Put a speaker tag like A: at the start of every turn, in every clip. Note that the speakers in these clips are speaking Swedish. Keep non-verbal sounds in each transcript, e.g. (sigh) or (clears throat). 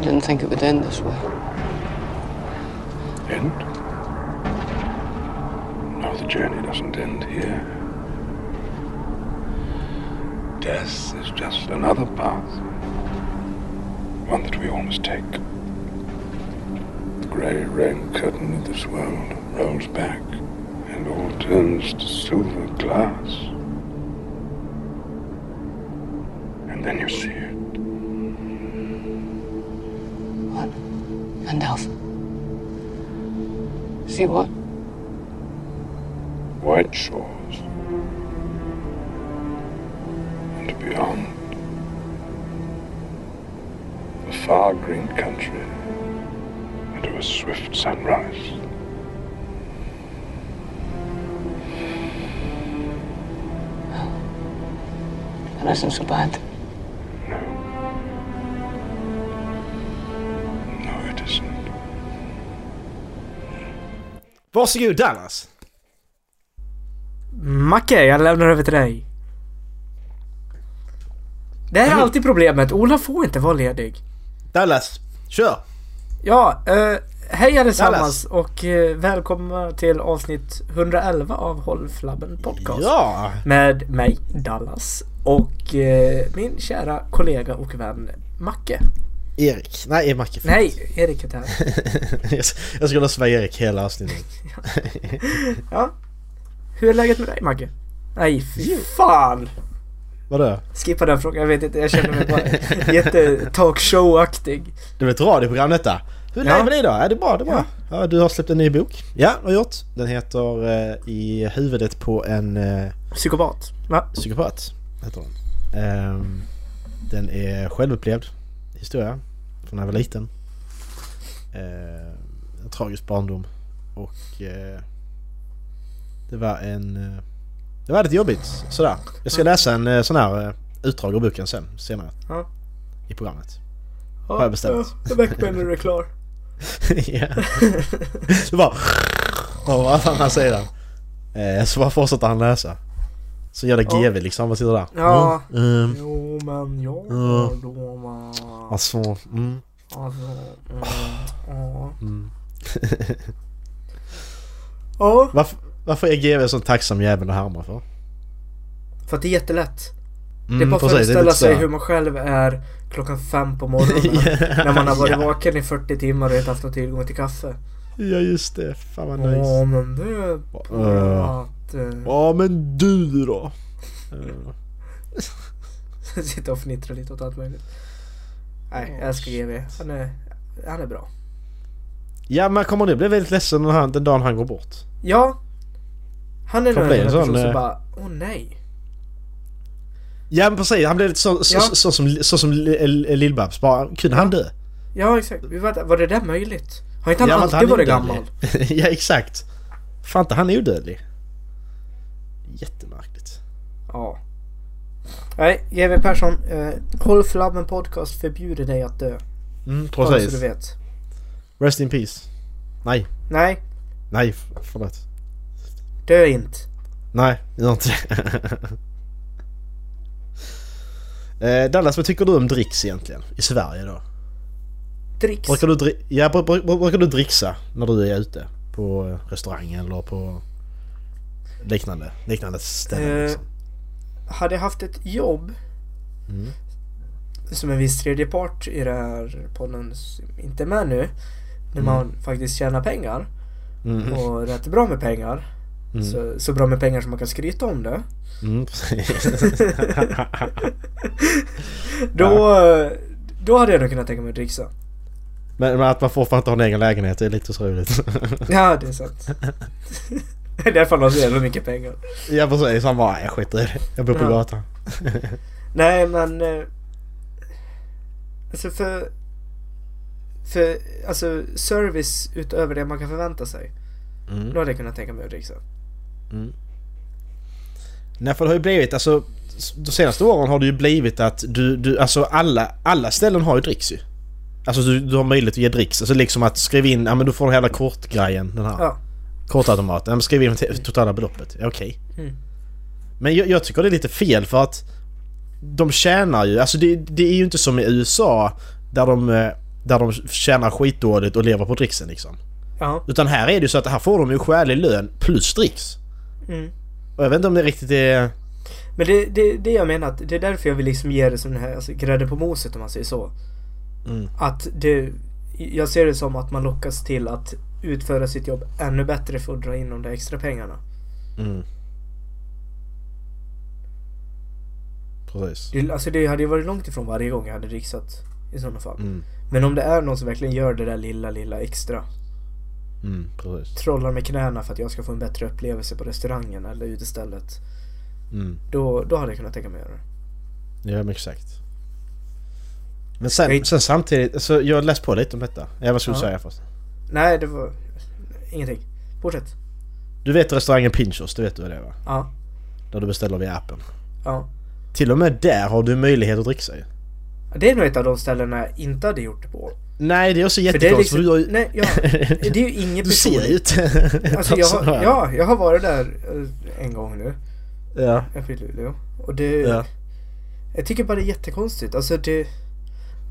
A: didn't think it would end this way.
B: End? No, the journey doesn't end here. Death is just another path. One that we all must take. The grey rain curtain of this world rolls back, and all turns to silver glass. And then you see it.
A: What? Gandalf. See what?
B: White shores. And beyond. The far green country. Into a swift sunrise.
A: That isn't so bad.
B: No. No, it isn't.
C: Varsågod Dallas.
D: Macke, jag lämnar över till dig. Det här är alltid problemet. Ola får inte vara ledig.
C: Dallas, kör!
D: Ja, eh, hej allesammans och eh, välkomna till avsnitt 111 av Hållflabben Podcast.
C: Ja!
D: Med mig, Dallas, och eh, min kära kollega och vän Macke.
C: Erik. Nej, Macke. förlåt.
D: (laughs) Nej, Erik heter han.
C: jag skulle svara Erik hela avsnittet.
D: Ja. Hur är läget med dig Macke? Nej, fy fan!
C: Vadå?
D: Skippa den frågan, jag vet inte, jag känner mig bara jättetalkshow-aktig.
C: Det var ett radioprogram detta. Hur är
D: Ja.
C: det med dig då? Ja, det är bra, det är bra. Ja. du har släppt en ny bok. Ja, har gjort. Den heter eh, I huvudet på en eh,
D: Psykopat. Va?
C: psykopat. Heter den. Ehm, den är självupplevd historia. Från när jag var liten. Ehm, en tragisk barndom. Och eh, det var en... eh, Det var lite jobbigt sådär. Jag ska läsa en eh, sån här eh, utdrag ur boken sen, senare.
D: Ja.
C: I programmet. (laughs)
D: Ja,
C: Har jag bestämt.
D: Ja, Backman är klar.
C: ja. Det bara... Och vad fan han säger den. Eh, så bara fortsätter han läsa. Så gör det
D: Ja.
C: GV liksom, han bara sitter där.
D: Ja.
C: Mm, ehm,
D: Jo men ja
C: Ja.
D: då man...
C: alltså, mm,
D: Alltså, mm,
C: (laughs)
D: ja.
C: mm.
D: Ja,
C: varför, varför är GV en sån tacksam jävel att härma för?
D: för att det är jättelätt.
C: Mm,
D: Det är bara att föreställa sig hur
C: man...
D: man själv är klockan fem på morgonen. När man har varit
C: (laughs) ja.
D: vaken i 40 timmar och inte haft någon tillgång till kaffe.
C: ja just det, fan vad
D: Ja
C: nice.
D: men det...
C: Eh,
D: Att... eh, (laughs)
C: Ja men du då? Eh,
D: sitta och fnittra lite åt allt möjligt. Nej, jag älskar GV. Han är, han är bra.
C: Ja men kommer du bli väldigt ledsen när han, den dagen han går bort?
D: Ja. Han är
C: Kan
D: nog en
C: bli en
D: person
C: sån,
D: som
C: eh,
D: bara, åh nej.
C: Ja men precis, han blir lite så, så,
D: Ja.
C: så, så som, så som Li- Li- Lill-Babs, bara kunde han dö? (laughs)
D: Ja exakt, Vi var, där- var det där möjligt? Har inte han
C: Ja, men
D: alltid
C: han är
D: varit
C: odödlig.
D: gammal?
C: ja, exakt. Fan inte, han är odödlig. Jättemärkligt.
D: Ja. Nej, GW Persson. Eh, Håll flabben podcast förbjuder dig att dö.
C: Mm,
D: Bara så du
C: precis.
D: vet.
C: Rest in peace. Nej,
D: Nej,
C: nej, f- förlåt.
D: dö inte.
C: Nej, gör inte det. (laughs) Eh, Dallas, vad tycker du om dricks egentligen? I Sverige då?
D: Dricks.
C: Brukar du, dri- ja, br- br- br- brukar du dricksa när du är ute? På eh, restaurang eller på liknande, liknande ställen?
D: Eh,
C: Liksom.
D: Hade jag haft ett jobb
C: Mm.
D: som en viss tredjepart i den här podden som inte är med nu. När man faktiskt tjänar pengar
C: Mm,
D: och rätt bra med pengar.
C: Mm.
D: Så, så bra med pengar som man kan skryta om det.
C: mm, precis. (laughs)
D: Då, då hade jag nog kunnat tänka mig att dricksa.
C: men, men att man fortfarande inte har en egen lägenhet, det är lite otroligt. (laughs)
D: Ja, det är sant. Det är därför han har så jävla mycket pengar.
C: Jag precis, han bara jag skiter i det. Jag bor på
D: Ja.
C: gatan.
D: Nej men... eh, Alltså för... För alltså service utöver det man kan förvänta sig.
C: Mm.
D: Då hade jag kunnat tänka mig att dricksa.
C: Nej för det har ju blivit, alltså de senaste åren har det ju blivit att du, du alltså alla, alla ställen har ju dricks ju. Alltså du, du har möjlighet att ge dricks. Alltså liksom att skriva in, ja men du får den hela kortgrejen, den här
D: Ja.
C: kortautomaten. Ja, men skriv in det totala beloppet, ja, okej.
D: Mm.
C: Men jag, jag tycker det är lite fel för att de tjänar ju, alltså det, det är ju inte som i USA där de, eh, där de tjänar skitdåligt och lever på dricksen liksom.
D: Ja.
C: Utan här är det ju så att här får de ju skälig lön plus dricks.
D: Mm.
C: Och jag vet inte om det riktigt är...
D: Men det, det, det jag menar, att det är därför jag vill liksom ge det som den här alltså, grädden på moset om man säger så.
C: Mm.
D: Att det, jag ser det som att man lockas till att utföra sitt jobb ännu bättre för att dra in de där extra pengarna.
C: Mm. Precis.
D: Det, alltså det hade ju varit långt ifrån varje gång jag hade dricksat i sådana fall.
C: Mm.
D: Men om det är någon som verkligen gör det där lilla, lilla extra.
C: Mm, precis.
D: Trollar med knäna för att jag ska få en bättre upplevelse på restaurangen eller utestället.
C: Mm.
D: Då, då hade jag kunnat tänka mig att göra det.
C: Ja, men exakt. Men sen, sen samtidigt, alltså, jag har läst på lite om detta. Ja, vad skulle du
D: Ja.
C: säga först?
D: Nej, det var ingenting. Fortsätt.
C: Du vet restaurangen Pinchos, det vet du vad det är va?
D: Ja,
C: Där du beställer via appen.
D: ja.
C: Till och med där har du möjlighet att dricksa ju.
D: Det är nog ett av de ställena jag inte hade gjort det på.
C: Nej, det är också
D: För det är
C: jättekonstigt
D: liksom,
C: för du har ju...
D: nej, ja,
C: (laughs)
D: det är ju inget
C: Du ser
D: personligt.
C: ut
D: Alltså
C: (laughs)
D: jag har, ja, jag har varit där eh, en gång nu.
C: ja.
D: Uppe i Luleå. Och det,
C: Ja.
D: jag tycker bara det är jättekonstigt. Alltså det,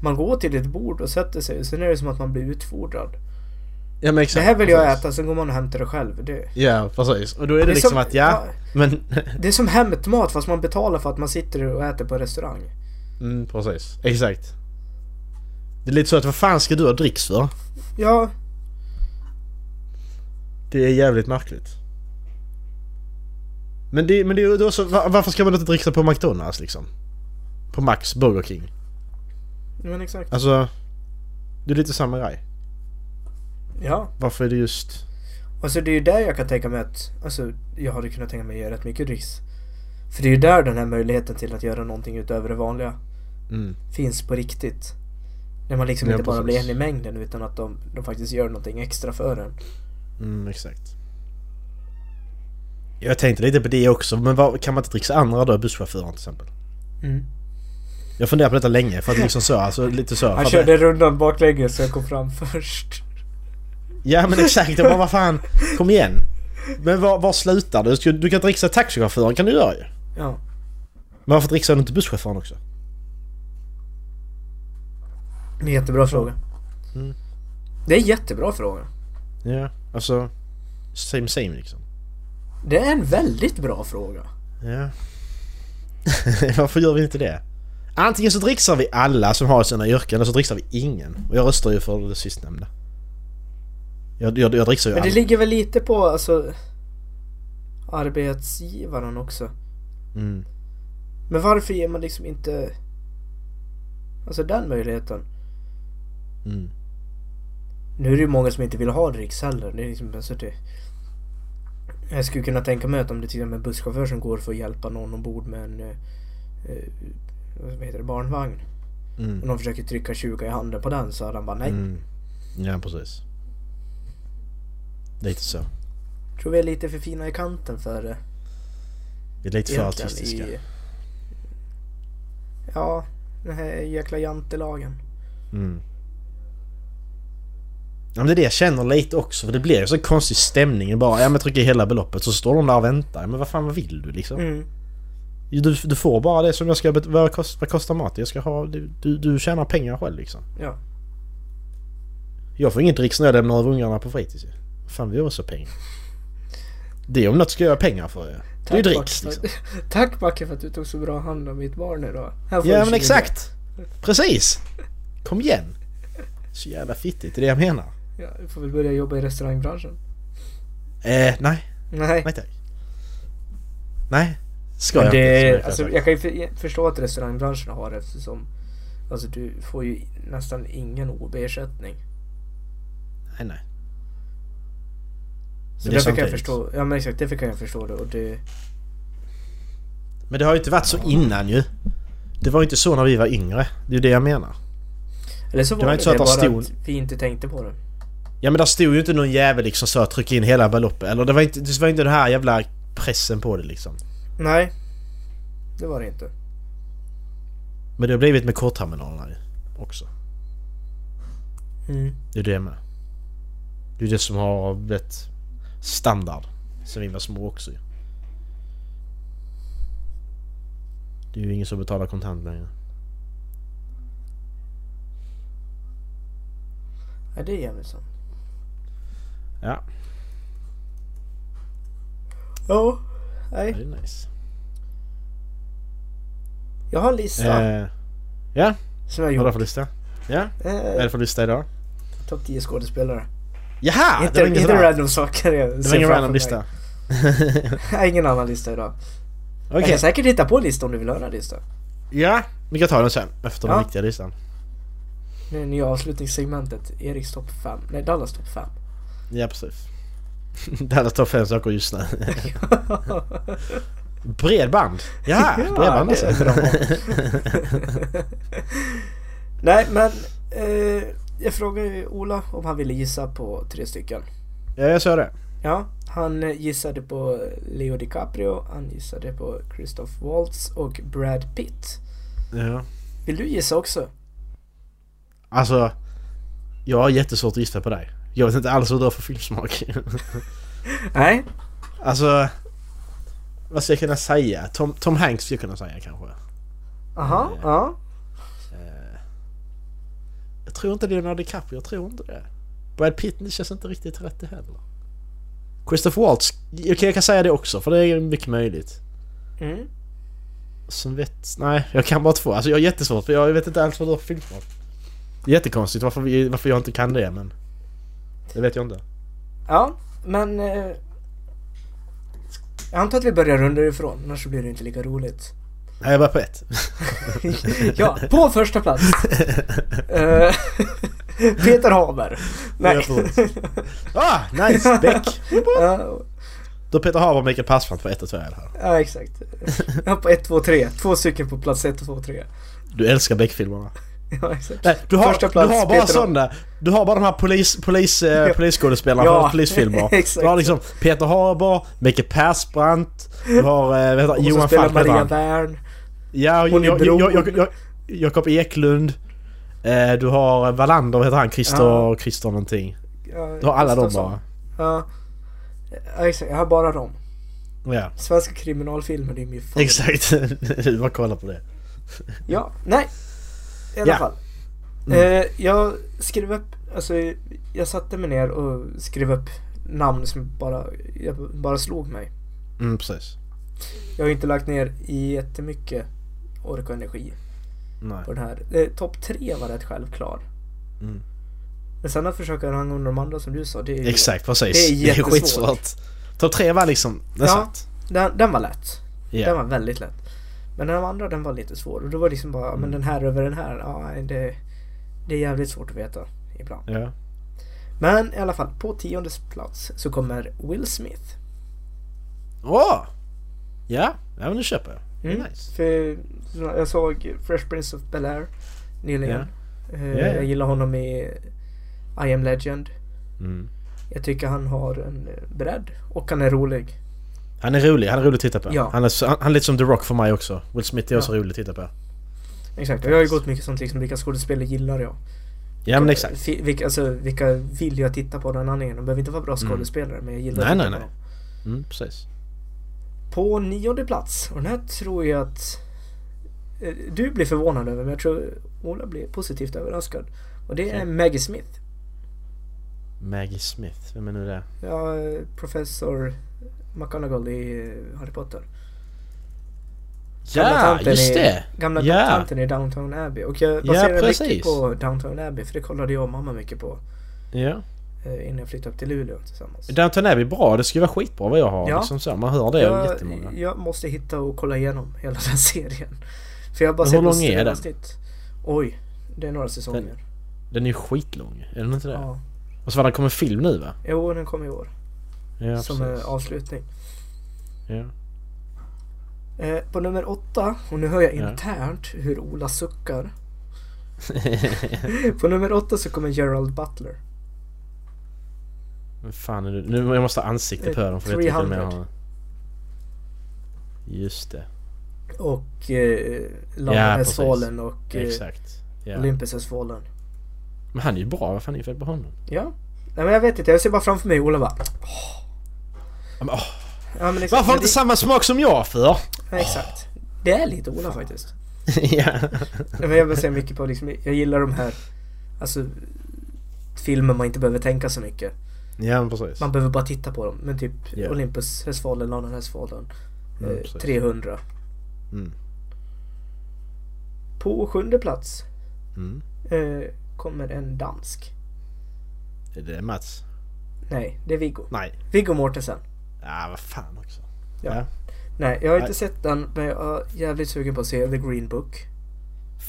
D: man går till ett bord och sätter sig och sen är det som att man blir utfordrad.
C: Ja men exakt.
D: Det här vill jag
C: precis.
D: äta, sen går man och hämtar det själv. Det,
C: Ja precis. Och då är det,
D: Det är
C: liksom
D: som-
C: att ja,
D: ja.
C: men... (laughs)
D: det är som hämtmat fast man betalar för att man sitter och äter på en restaurang.
C: Mm, precis. Exakt. Det är lite så att vad fan ska du ha dricks för?
D: Ja,
C: Det är jävligt märkligt. Men det, men det är ju då så, va- varför ska man inte dricksa på McDonalds liksom? På Max Burger King?
D: men exakt.
C: Alltså... Det är lite samma grej.
D: Ja.
C: Varför är det just...
D: Alltså det är ju där jag kan tänka mig att, alltså jag hade kunnat tänka mig att göra rätt mycket dricks. För det är ju där den här möjligheten till att göra någonting utöver det vanliga
C: Mm.
D: finns på riktigt. När man liksom
C: Ja,
D: inte bara blir en
C: precis.
D: i mängden utan att de, de faktiskt gör någonting extra för en.
C: Mm, exakt. Jag tänkte lite på det också, men vad, kan man inte dricksa andra då? Busschauffören till exempel.
D: Mm.
C: Jag funderar på detta länge, för att liksom så, alltså lite så. för
D: Han
C: att-
D: körde rundan baklänges så jag kom fram (laughs) först.
C: Ja men exakt, jag bara vad fan, kom igen. Men var, var slutar du? Ska- Du kan dricksa taxichauffören kan du göra ju.
D: Ja.
C: Men varför dricksar du inte busschauffören också?
D: Det är en jättebra fråga.
C: Mm.
D: Det är en jättebra fråga.
C: Ja, alltså... Same same liksom.
D: Det är en väldigt bra fråga.
C: Ja. (laughs) varför gör vi inte det? Antingen så dricksar vi alla som har sina yrken eller så dricksar vi ingen. Och jag röstar ju för det sistnämnda. Jag, jag, jag dricksar ju
D: Men det
C: alla.
D: ligger väl lite på alltså arbetsgivaren också.
C: Mm.
D: Men varför ger man liksom inte Alltså den möjligheten?
C: Mm.
D: Nu är det ju många som inte vill ha dricks heller. Det är liksom, alltså det... Jag skulle kunna tänka mig att om det till och med är en busschaufför som går för att hjälpa någon ombord med en eh, eh, vad heter det, barnvagn.
C: Mm.
D: Och någon försöker trycka 20 i handen på den så hade han bara nej.
C: Mm. Ja precis. Lite så.
D: Tror vi är lite för fina i kanten för eh, det.
C: Vi är lite för
D: egentligen
C: artistiska.
D: i- Ja, den här jäkla jantelagen.
C: Mm. Ja, men det är det jag känner lite också, för det blir ju så konstig stämning. Bara, ja men trycker hela beloppet så står de där och väntar. Men vad fan vad vill du liksom?
D: Mm.
C: Du, du får bara det som jag ska bet- vad, kost, vad kostar mat? Jag ska ha... Du, du, du tjänar pengar själv liksom.
D: Ja.
C: Jag får inget dricks när jag lämnar över ungarna på fritids ju. Fan vi har också pengar. Det om något ska jag ha pengar för ju. Det är ju dricks
D: Backe, för-
C: liksom.
D: (laughs) Tack Backe för att du tog så bra hand om mitt barn idag. Här får du
C: Ja men
D: 20.
C: exakt! Precis! Kom igen! Så jävla fittigt, det är det jag menar.
D: Ja, du får väl börja jobba i restaurangbranschen.
C: Eh, nej.
D: Nej.
C: Nej tack. Nej. Ska
D: Men
C: jag
D: det,
C: inte.
D: alltså,
C: Alltså,
D: jag kan ju för, förstå att restaurangbranschen har det eftersom Alltså du får ju nästan ingen OB-ersättning.
C: Nej nej.
D: Så
C: Men det är
D: därför kan jag
C: samtidigt.
D: förstå, ja men exakt därför kan jag förstå det och det,
C: Men det har ju inte varit så innan ju. Det var ju inte så när vi var yngre. Det är ju det jag menar.
D: Eller så var
C: Det
D: det,
C: var inte så att
D: det
C: det
D: bara
C: stod-
D: att vi inte tänkte på det.
C: Ja men där stod ju inte någon jävel liksom så att trycka in hela beloppet. Eller det var inte, det var inte den här jävla pressen på det liksom.
D: Nej. Det var det inte.
C: Men det har blivit med kortterminalerna ju. Också.
D: Mm.
C: Det är det med. Det är det som har blivit standard. Sen vi var små också ju. Det är ju ingen som betalar kontant längre.
D: Ja, det är jävligt sant.
C: Ja,
D: Ja.
C: det
D: Nej.
C: är nice.
D: Jag har en lista
C: Eh, ja,
D: som jag
C: vad har du
D: gjort.
C: för lista? Ja, vad är
D: Eh,
C: det för lista idag?
D: Topp 10 skådespelare.
C: Jaha!
D: inte
C: det var ingen,
D: inte
C: sån här-
D: random saker. jag
C: det
D: ser
C: var ingen
D: framför
C: random
D: mig.
C: lista.
D: Jag har ingen annan lista idag.
C: (laughs) Okej,
D: Jag kan säkert hitta på en lista om du vill höra en lista.
C: ja. Vi kan ta den sen efter den
D: Ja.
C: riktiga listan.
D: Det är nya avslutningssegmentet. Eriks topp 5. Nej, Dallas topp 5.
C: Ja, precis. (laughs) Dallas tar fem saker just nu. Ah,
D: (laughs)
C: Bredband! Ja, bredband
D: det
C: alltså.
D: är bra. (laughs) Nej, men eh, jag frågade ju Ola om han ville gissa på tre stycken.
C: Ja, jag sa det.
D: Ja, han eh, gissade på Leo DiCaprio, han gissade på Christoph Waltz och Brad Pitt.
C: Ja.
D: Vill du gissa också?
C: Alltså, jag har jättesvårt att gissa på dig. Jag vet inte alls vad du har för filmsmak. (laughs)
D: Nej.
C: alltså, vad ska jag kunna säga? Tom, Tom Hanks skulle jag kunna säga kanske.
D: Aha, ja.
C: Jag tror inte Leonardo DiCaprio, jag tror inte det. Brad Pitt det känns inte riktigt rätt det heller. Christopher Waltz, okej jag kan säga det också för det är mycket möjligt.
D: Mm.
C: Som vet, nej jag kan bara två. Alltså jag har jättesvårt för jag vet inte alls vad du har för filmsmak. Det är jättekonstigt varför, vi, varför jag inte kan det men... Det vet jag inte.
D: Ja, men... Eh, jag antar att vi börjar underifrån, annars så blir det inte lika
C: (laughs)
D: roligt.
C: Nej jag var på ett.
D: ja, på första plats.
C: (laughs)
D: Eh, (laughs) Peter Haber. Nej.
C: Jag tror ah, nice! Beck!
D: (laughs) Ja,
C: Då Peter Haber och Mikael Persbrandt på ett och två är det här.
D: ja, exakt. Ja, på 1, 2, 3. Två stycken på plats 1, 2, 3.
C: Du älskar Beck-filmerna.
D: Ja, exakt.
C: Nej, du har,
D: Första plats,
C: du har bara
D: Peter Haber.
C: sådana. Du har bara de här polis, polis, eh,
D: Ja.
C: polisskådespelarna
D: Ja, (laughs)
C: från polisfilmer.
D: exakt.
C: Du har liksom Peter Haber, Mikael Persbrandt, du har eh, vad heter,
D: Och
C: han?
D: så
C: Johan
D: spelar
C: Falk heter
D: Maria
C: han.
D: Wern.
C: Ja, och
D: hon i
C: jag, jag, jag, jag,
D: bron.
C: jag, Jakob Eklund. Eh, du har Wallander, vad heter han? Christer,
D: Ja.
C: Christer någonting.
D: Ja,
C: Du har alla dem
D: Gustafsson.
C: bara.
D: Ja. ja, exakt. Jag har bara dem.
C: Ja,
D: Svenska kriminalfilmer, det är min favorit.
C: exakt. (laughs) Du bara kolla på det.
D: Ja, nej. I alla
C: Ja. Mm.
D: fall. Eh, jag skrev upp, alltså jag satte mig ner och skrev upp namn som bara, jag bara slog mig.
C: Mm, precis.
D: Jag har inte lagt ner jättemycket ork och energi
C: Nej.
D: på den här. Eh, Topp tre var rätt självklar.
C: Mm.
D: Men sen att försöka rangordna de andra som du sa, det är ju-
C: Exakt, precis.
D: Det är jättesvårt.
C: Topp tre var liksom, den
D: Ja.
C: satt.
D: Den, den var lätt.
C: Ja.
D: Den var väldigt lätt. Men den andra den var lite svår och då var det liksom bara,
C: Mm.
D: men den här över den här, ja nej, det, det är jävligt svårt att veta ibland.
C: Ja.
D: Men i alla fall, på tionde plats så kommer Will Smith.
C: Åh! Ja, ja men nu köper jag. Det är
D: Mm.
C: nice.
D: För jag såg Fresh Prince of Bel-Air nyligen. Eh,
C: Ja, ja.
D: Jag gillar honom i I am Legend.
C: Mm.
D: Jag tycker han har en eh, bredd och han är rolig.
C: Han är rolig, han är rolig att titta på.
D: Ja.
C: Han, är, så- han, han är lite som The Rock för mig också. Will Smith är också
D: Ja.
C: rolig att titta på.
D: Exakt, och jag har ju gått mycket sånt liksom, vilka skådespelare gillar jag?
C: Ja men exakt.
D: Fi- Vilka, alltså, vilka vill jag titta på den anledningen? De behöver inte vara bra skådespelare, men jag gillar
C: Mm. Nej,
D: att
C: nej,
D: titta
C: nej.
D: på dem.
C: Mm, precis.
D: På nionde plats, och den här tror jag att eh, du blir förvånad över, men jag tror Ola blir positivt överraskad. Och det är
C: Okej.
D: Maggie Smith.
C: Maggie Smith, vem är nu det?
D: Ja, eh, professor McGonagall i eh, Harry Potter. Gamla
C: Ja,
D: tanten
C: just
D: i-
C: det!
D: Gamla
C: Ja.
D: tanten i Downton Abbey. Och jag
C: Ja,
D: baserar mycket
C: precis.
D: på Downton Abbey, för det kollade jag och mamma mycket på
C: Ja.
D: eh, innan jag flyttade upp till Luleå tillsammans.
C: Downton Abbey är bra, det skulle vara skitbra vad jag har.
D: Ja.
C: Liksom så. Man hör det av jättemånga.
D: jag måste hitta och kolla igenom hela den (laughs) serien. För jag har bara
C: Men
D: sett
C: hur
D: några
C: lång är den?
D: avsnitt. Oj, det är några säsonger.
C: Den är ju skitlång, är den inte det?
D: Ja.
C: Och så var det kom en film nu va?
D: Jo, den kom i år.
C: Ja,
D: som
C: precis.
D: eh, avslutning.
C: Ja.
D: Eh, på nummer åtta, och nu hör jag
C: Ja.
D: internt hur Ola suckar. (laughs) på nummer åtta så kommer Gerald Butler.
C: Vad fan är det? Nu jag måste ha ansikte på
D: Eh,
C: dem för jag vet inte vem jag
D: 300.
C: har. Just det.
D: Och eh,
C: Ja,
D: London
C: precis.
D: Svalen och eh,
C: Exakt. Ja.
D: Olympus är Svalen.
C: Men han är ju bra, vad fan är det fel på honom?
D: Ja. Nej men jag vet inte, jag ser bara framför mig Ola bara...
C: Ja, men, åh.
D: Ja, men liksom,
C: Varför har han
D: det,
C: inte samma smak som jag
D: (laughs)
C: för?
D: ja, Exakt. Det är lite Ola faktiskt.
C: ja.
D: Ja, Men jag vill säga mycket på liksom, jag gillar de här, alltså filmer man inte behöver tänka så mycket.
C: Ja, men precis.
D: Man behöver bara titta på dem. Men typ
C: Ja.
D: Olympus, Hästfalen, Lanan, Hästfalen.
C: Mm,
D: eh,
C: precis.
D: 300.
C: Mm.
D: På sjunde plats
C: Mm.
D: eh, kommer en dansk.
C: Är det Mats?
D: Nej, det är Viggo.
C: Nej.
D: Viggo Mortensen.
C: Ja, vad fan också.
D: Ja.
C: Ja.
D: Nej, jag har inte
C: Nej.
D: sett den men jag är jävligt sugen på att se The Green Book.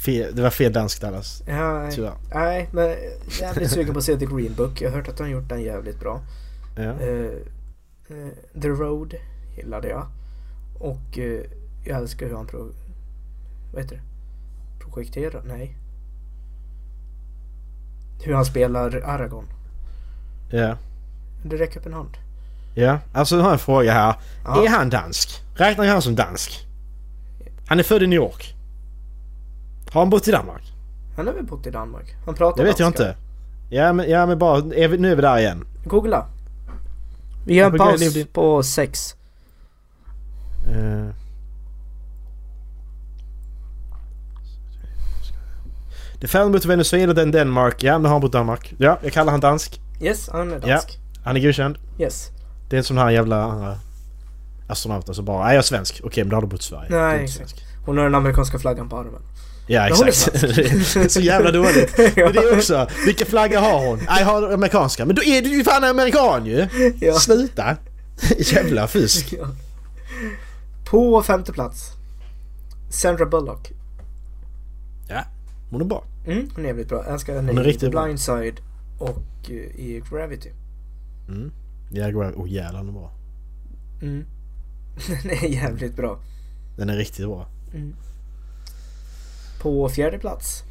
C: Fel, det var fel danskt Dallas.
D: Ja,
C: Tyvärr.
D: nej, men jävligt sugen på att se The Green Book. Jag har hört att de har gjort den jävligt bra.
C: Ja.
D: Eh, eh, The Road gillade jag. Och eh, jag älskar hur han pro- vad heter det? projekterar. Nej. Hur han spelar Aragorn.
C: Ja.
D: Det räcker upp en hand.
C: ja. Alltså, nu har jag en fråga här.
D: Ja.
C: Är han dansk? Räknar jag han som dansk? Han är född i New York. Har han bott i Danmark?
D: Han har väl bott i Danmark? Han pratar
C: Det vet jag
D: danska.
C: inte. Ja men, ja, men bara, är vi, nu är vi där igen.
D: Googla. Vi gör en
C: Jag googlar
D: paus
C: livligt.
D: på sex.
C: Eh. The found mot Venezuela then Denmark. Ja, nu har han bott i Danmark. Ja, jag kallar han dansk.
D: Yes, han är dansk.
C: Han är godkänd.
D: Yes.
C: Det är inte som den här jävla andra astronauten som bara Nej, jag är svensk. Okej, men då har du bott i Sverige.
D: Nej,
C: Du är inte
D: exakt.
C: svensk.
D: Hon har den amerikanska flaggan på armen.
C: Ja,
D: Men hon är
C: exakt.
D: (laughs) svensk.
C: så jävla dåligt.
D: (laughs)
C: Men det är också, vilka flagga har hon? Nej, jag har amerikanska. Men då är du ju fan amerikan ju!
D: Ja.
C: Sluta! (laughs) jävla fusk.
D: Ja. (laughs) På femte plats. Sandra Bullock.
C: Ja, hon är bra.
D: Mm, hon är jävligt bra. Jag älskar henne
C: Hon är
D: i
C: riktigt
D: The
C: bra.
D: Blindside och eh, i Gravity. (laughs)
C: Jag går Åh jävlar, den är bra.
D: Mm. Den är jävligt bra.
C: Den är riktigt bra.
D: På fjärde plats.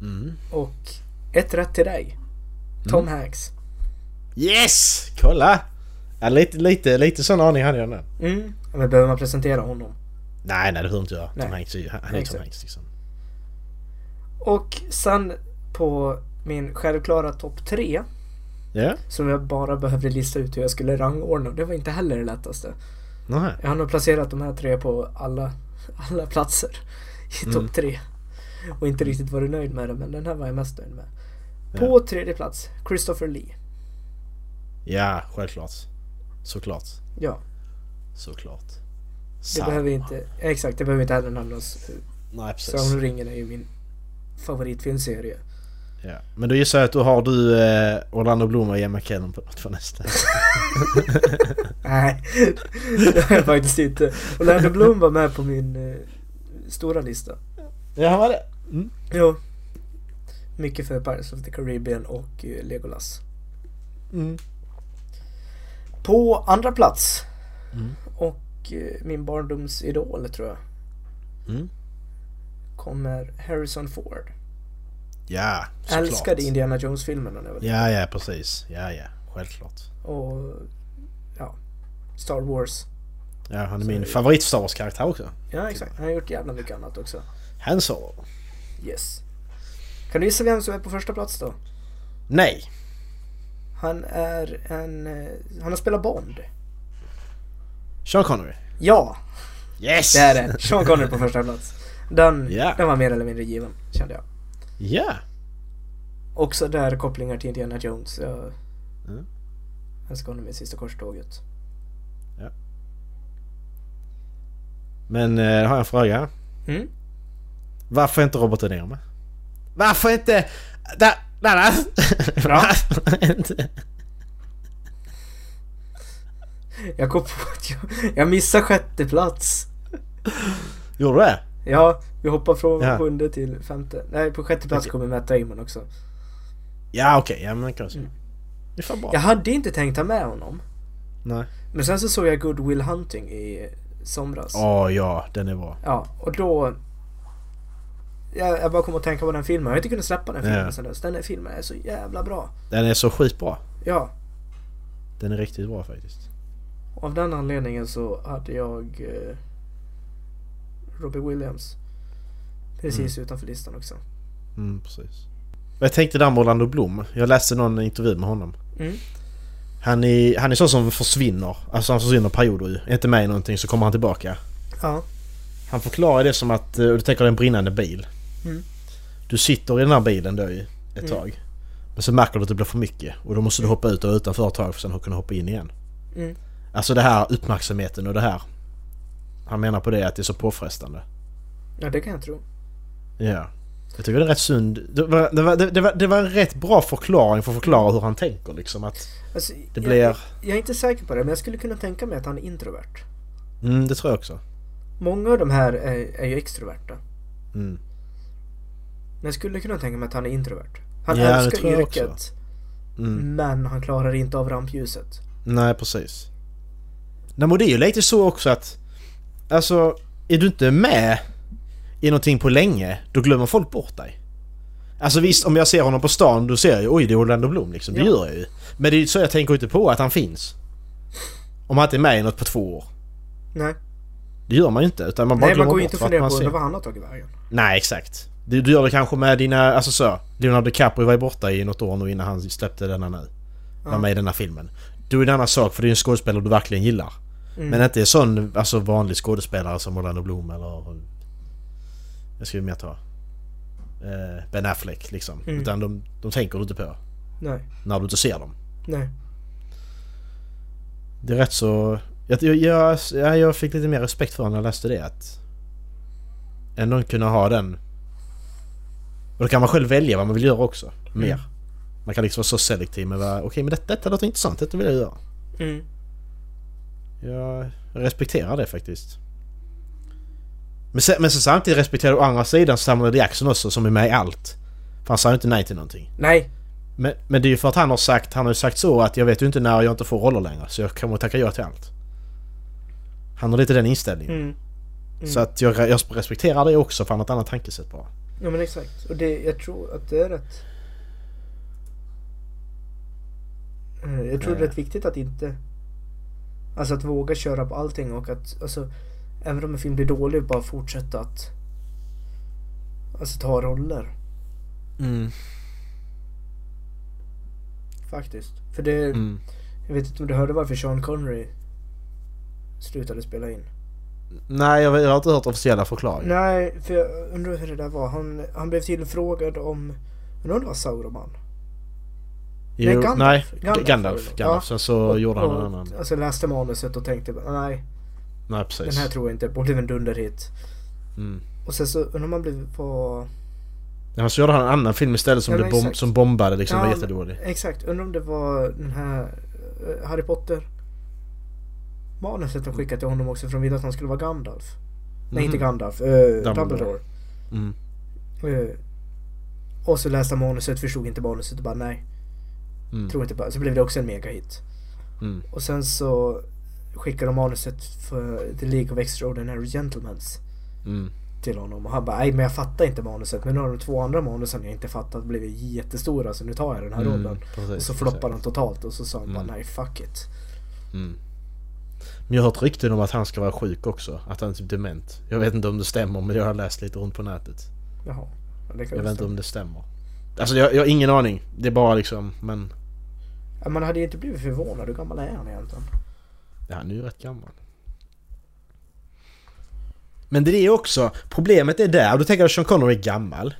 C: Mm.
D: Och ett rätt till dig. Tom Hanks.
C: Yes! Kolla! Ja, lite, lite, lite sån aning hade jag nu.
D: Mm. Ja, Men behöver man presentera honom?
C: Nej, nej det behöver inte jag.
D: Nej.
C: Tom Hanks är ju, han är ju Tom
D: Exakt.
C: Hanks liksom.
D: Och sen på min självklara topp tre.
C: Ja,
D: Som jag bara behövde lista ut hur jag skulle rangordna. Det var inte heller det lättaste.
C: nej.
D: Jag har nog placerat de här tre på alla, alla platser i topp tre. Och inte riktigt varit nöjd med det, men den här var jag mest nöjd med. På tredje plats, Christopher Lee.
C: Ja, självklart. Såklart.
D: Ja,
C: Såklart.
D: det behöver inte... Exakt, det behöver inte heller nämnas.
C: Nej, precis.
D: Sagan om ringen är ju min favoritfilmserie.
C: Ja. Men då gissar jag att då har du eh, Orlando Bloom och Ian McKellen på för nästa.
D: Nej, (laughs) det har jag faktiskt inte. Orlando Bloom var med på min eh, stora lista.
C: ja, var det?
D: Jo. Mycket för Pirates of the Caribbean och eh, Legolas.
C: Mm.
D: På andra plats. Och eh, min barndomsidol tror jag.
C: Mm.
D: Kommer Harrison Ford.
C: Ja, såklart.
D: Älskade Indiana Jones-filmerna när jag var liten.
C: Ja, ja, precis. Ja, ja. Självklart.
D: Och ja, Star Wars.
C: Ja, han är min favorit Star Wars-karaktär också.
D: Ja exakt, han har gjort jävla mycket annat också.
C: Han sa
D: Yes. Kan du gissa vem som är på första plats då?
C: Nej.
D: Han är en... eh, Han har spelat Bond.
C: Sean Connery.
D: Ja,
C: Yes!
D: det är
C: (laughs)
D: det. Sean Connery på första plats. Den,
C: Ja.
D: den var mer eller mindre given, kände jag.
C: Ja.
D: Också där kopplingar till Indiana Jones. Jag
C: Mm.
D: älskar honom i Sista Korståget.
C: Men eh, har jag en fråga.
D: Mm.
C: Varför är inte Robert De Niro med? Varför inte... Da, Dallas!
D: Bra.
C: Varför inte?
D: Jag kom på att jag, jag missar sjätte plats.
C: (laughs) Gjorde du det?
D: Ja, vi hoppar från
C: Ja.
D: sjunde till femte. Nej, på sjätte plats
C: Okej.
D: kommer Matt Damon också.
C: Ja okej, ja men kanske. Det är fan bra.
D: Jag hade inte tänkt ta med honom.
C: Nej.
D: Men sen så såg jag Good Will Hunting i somras.
C: Åh ja, den är bra.
D: Ja, och då... Jag, jag bara kom att tänka på den filmen. Jag har inte kunnat släppa den filmen
C: Ja.
D: sen dess. Den här filmen är så jävla bra.
C: Den är så skitbra.
D: Ja,
C: Den är riktigt bra faktiskt.
D: Av den anledningen så hade jag eh, Robbie Williams precis utanför listan också.
C: Mm, precis. Jag tänkte där med Orlando Bloom. Jag läste någon intervju med honom.
D: Mm.
C: Han är, han är sån som försvinner. Alltså han försvinner perioder ju. Är inte med i någonting så kommer han tillbaka.
D: Ja.
C: Han förklarar det som att, eh, och du tänker dig en brinnande bil.
D: Mm.
C: Du sitter i den här bilen då ju ett tag. Men så märker du att det blir för mycket och då måste du hoppa ut och vara utanför ett tag för sen att kunna hoppa in igen.
D: Mm.
C: Alltså det här uppmärksamheten och det här. Han menar på det att det är så påfrestande.
D: Ja, det kan jag tro.
C: Ja. Jag tycker det är rätt sund... Det var, det var, det var, det var en rätt bra förklaring för att förklara hur han tänker liksom att
D: Alltså,
C: det
D: jag,
C: blir...
D: jag är inte säker på det, men jag skulle kunna tänka mig att han är introvert.
C: Mm, det tror jag också.
D: Många av de här är, är ju extroverta.
C: Mm.
D: Men jag skulle kunna tänka mig att han är introvert. Han
C: Ja, det
D: älskar
C: tror jag
D: yrket,
C: också. Mm.
D: men han klarar inte av rampljuset.
C: Nej, precis. Nej, men det är ju lite så också att... Alltså, är du inte med i någonting på länge, då glömmer folk bort dig. Alltså visst, om jag ser honom på stan, då ser jag ju oj, det är Orlando Bloom liksom. Det
D: Ja.
C: gör jag ju. Men det är ju så jag tänker ju inte på att han finns. Om han inte är med i något på två år.
D: Nej,
C: Det gör man ju inte, utan man bara
D: Nej man
C: glömmer
D: går ju
C: bort
D: inte och
C: för att
D: funderar
C: man
D: på
C: ser...
D: undrar vad han har tagit vägen.
C: Nej, exakt. Du, du gör det kanske med dina, alltså så, Leonardo DiCaprio var ju borta i något år nu innan han släppte denna nu. Var med i denna filmen. Du är det en annan sak för det är en skådespelare du verkligen gillar. Men inte en sån alltså, vanlig skådespelare som Orlando Bloom eller... Jag skulle mer ta... Eh, ben Affleck liksom. Utan de, de tänker du inte på
D: Nej,
C: när du inte ser dem.
D: nej.
C: Det är rätt så... Jag, jag, jag, ja, jag fick lite mer respekt för när jag läste det att... Ändå kunna ha den... Och då kan man själv välja vad man vill göra också. Mer. Man kan liksom vara så selektiv med vad... Okej men detta, detta låter intressant, detta vill jag göra.
D: Mm.
C: Jag respekterar det faktiskt. Men sen, men sen samtidigt respekterar jag å andra sidan Samuel L. Jackson också som är med i allt. För han sa ju inte nej till någonting.
D: Nej,
C: Men, men det är ju för att han har sagt, han har ju sagt så att jag vet ju inte när jag inte får roller längre så jag kommer att tacka ja till allt. Han har lite den inställningen.
D: Mm.
C: Så att jag, jag respekterar det också för han har ett annat tankesätt bara.
D: ja men exakt. Och det, jag tror att det är rätt... Eh, Jag tror det är rätt viktigt att inte... Alltså att våga köra på allting och att, alltså... Även om en film blir dålig, bara fortsätta att... Alltså ta roller. Faktiskt. För det...
C: Mm.
D: Jag vet inte om du hörde varför Sean Connery slutade spela in?
C: Nej, jag, jag har inte hört officiella förklaringar.
D: Nej, för jag undrar hur det där var. Han, han blev tydligen frågad om... Undrar om det var Sauroman?
C: Jo,
D: nej, Gandalf.
C: nej,
D: Gandalf.
C: Gandalf. Gandalf.
D: Ja.
C: Sen så gjorde han en
D: Och-
C: annan.
D: Alltså läste manuset och tänkte bara, nej,
C: Nej, precis.
D: den här tror jag inte på. Blev en dunderhit.
C: Mm.
D: Och sen så undrar man blev på...
C: Ja, så gjorde han en annan film istället som,
D: Ja,
C: blev
D: men
C: bom-
D: exakt.
C: som bombade liksom, var
D: men-
C: jättedålig.
D: Exakt, undrar om det var den här eh, Harry Potter manuset de skickade till honom också för de ville att han skulle vara Gandalf. Nej,
C: Mhm.
D: inte Gandalf. eh, Dumbledore.
C: Mm.
D: Eh, och så läste han manuset, förstod inte manuset och bara nej.
C: Mm.
D: Tror inte på det." Så blev det också en megahit.
C: Mm.
D: Och sen så skickade de manuset för The League of Extraordinary Gentlemans
C: Mm.
D: till honom. Och han bara nej men jag fattar inte manuset. Men nu har de två andra manusen jag inte fattat blivit jättestora så nu tar jag den här
C: Mm,
D: rollen.
C: precis,
D: och så
C: exakt. Mm.
D: floppar de totalt och så sa han bara nej fuck it.
C: Men jag har hört rykten om att han ska vara sjuk också. Att han är typ dement. Jag vet inte om det stämmer men jag har läst lite runt på nätet.
D: Jaha. Ja, Det kan
C: Jag
D: jag
C: vet inte om det stämmer. Alltså jag, jag har ingen aning. Det är bara liksom, men...
D: ja, man hade ju inte blivit förvånad. Hur gammal är han egentligen?
C: Ja, han är ju rätt gammal. Men det är det också, problemet är där, och då tänker jag att Sean Connery är gammal.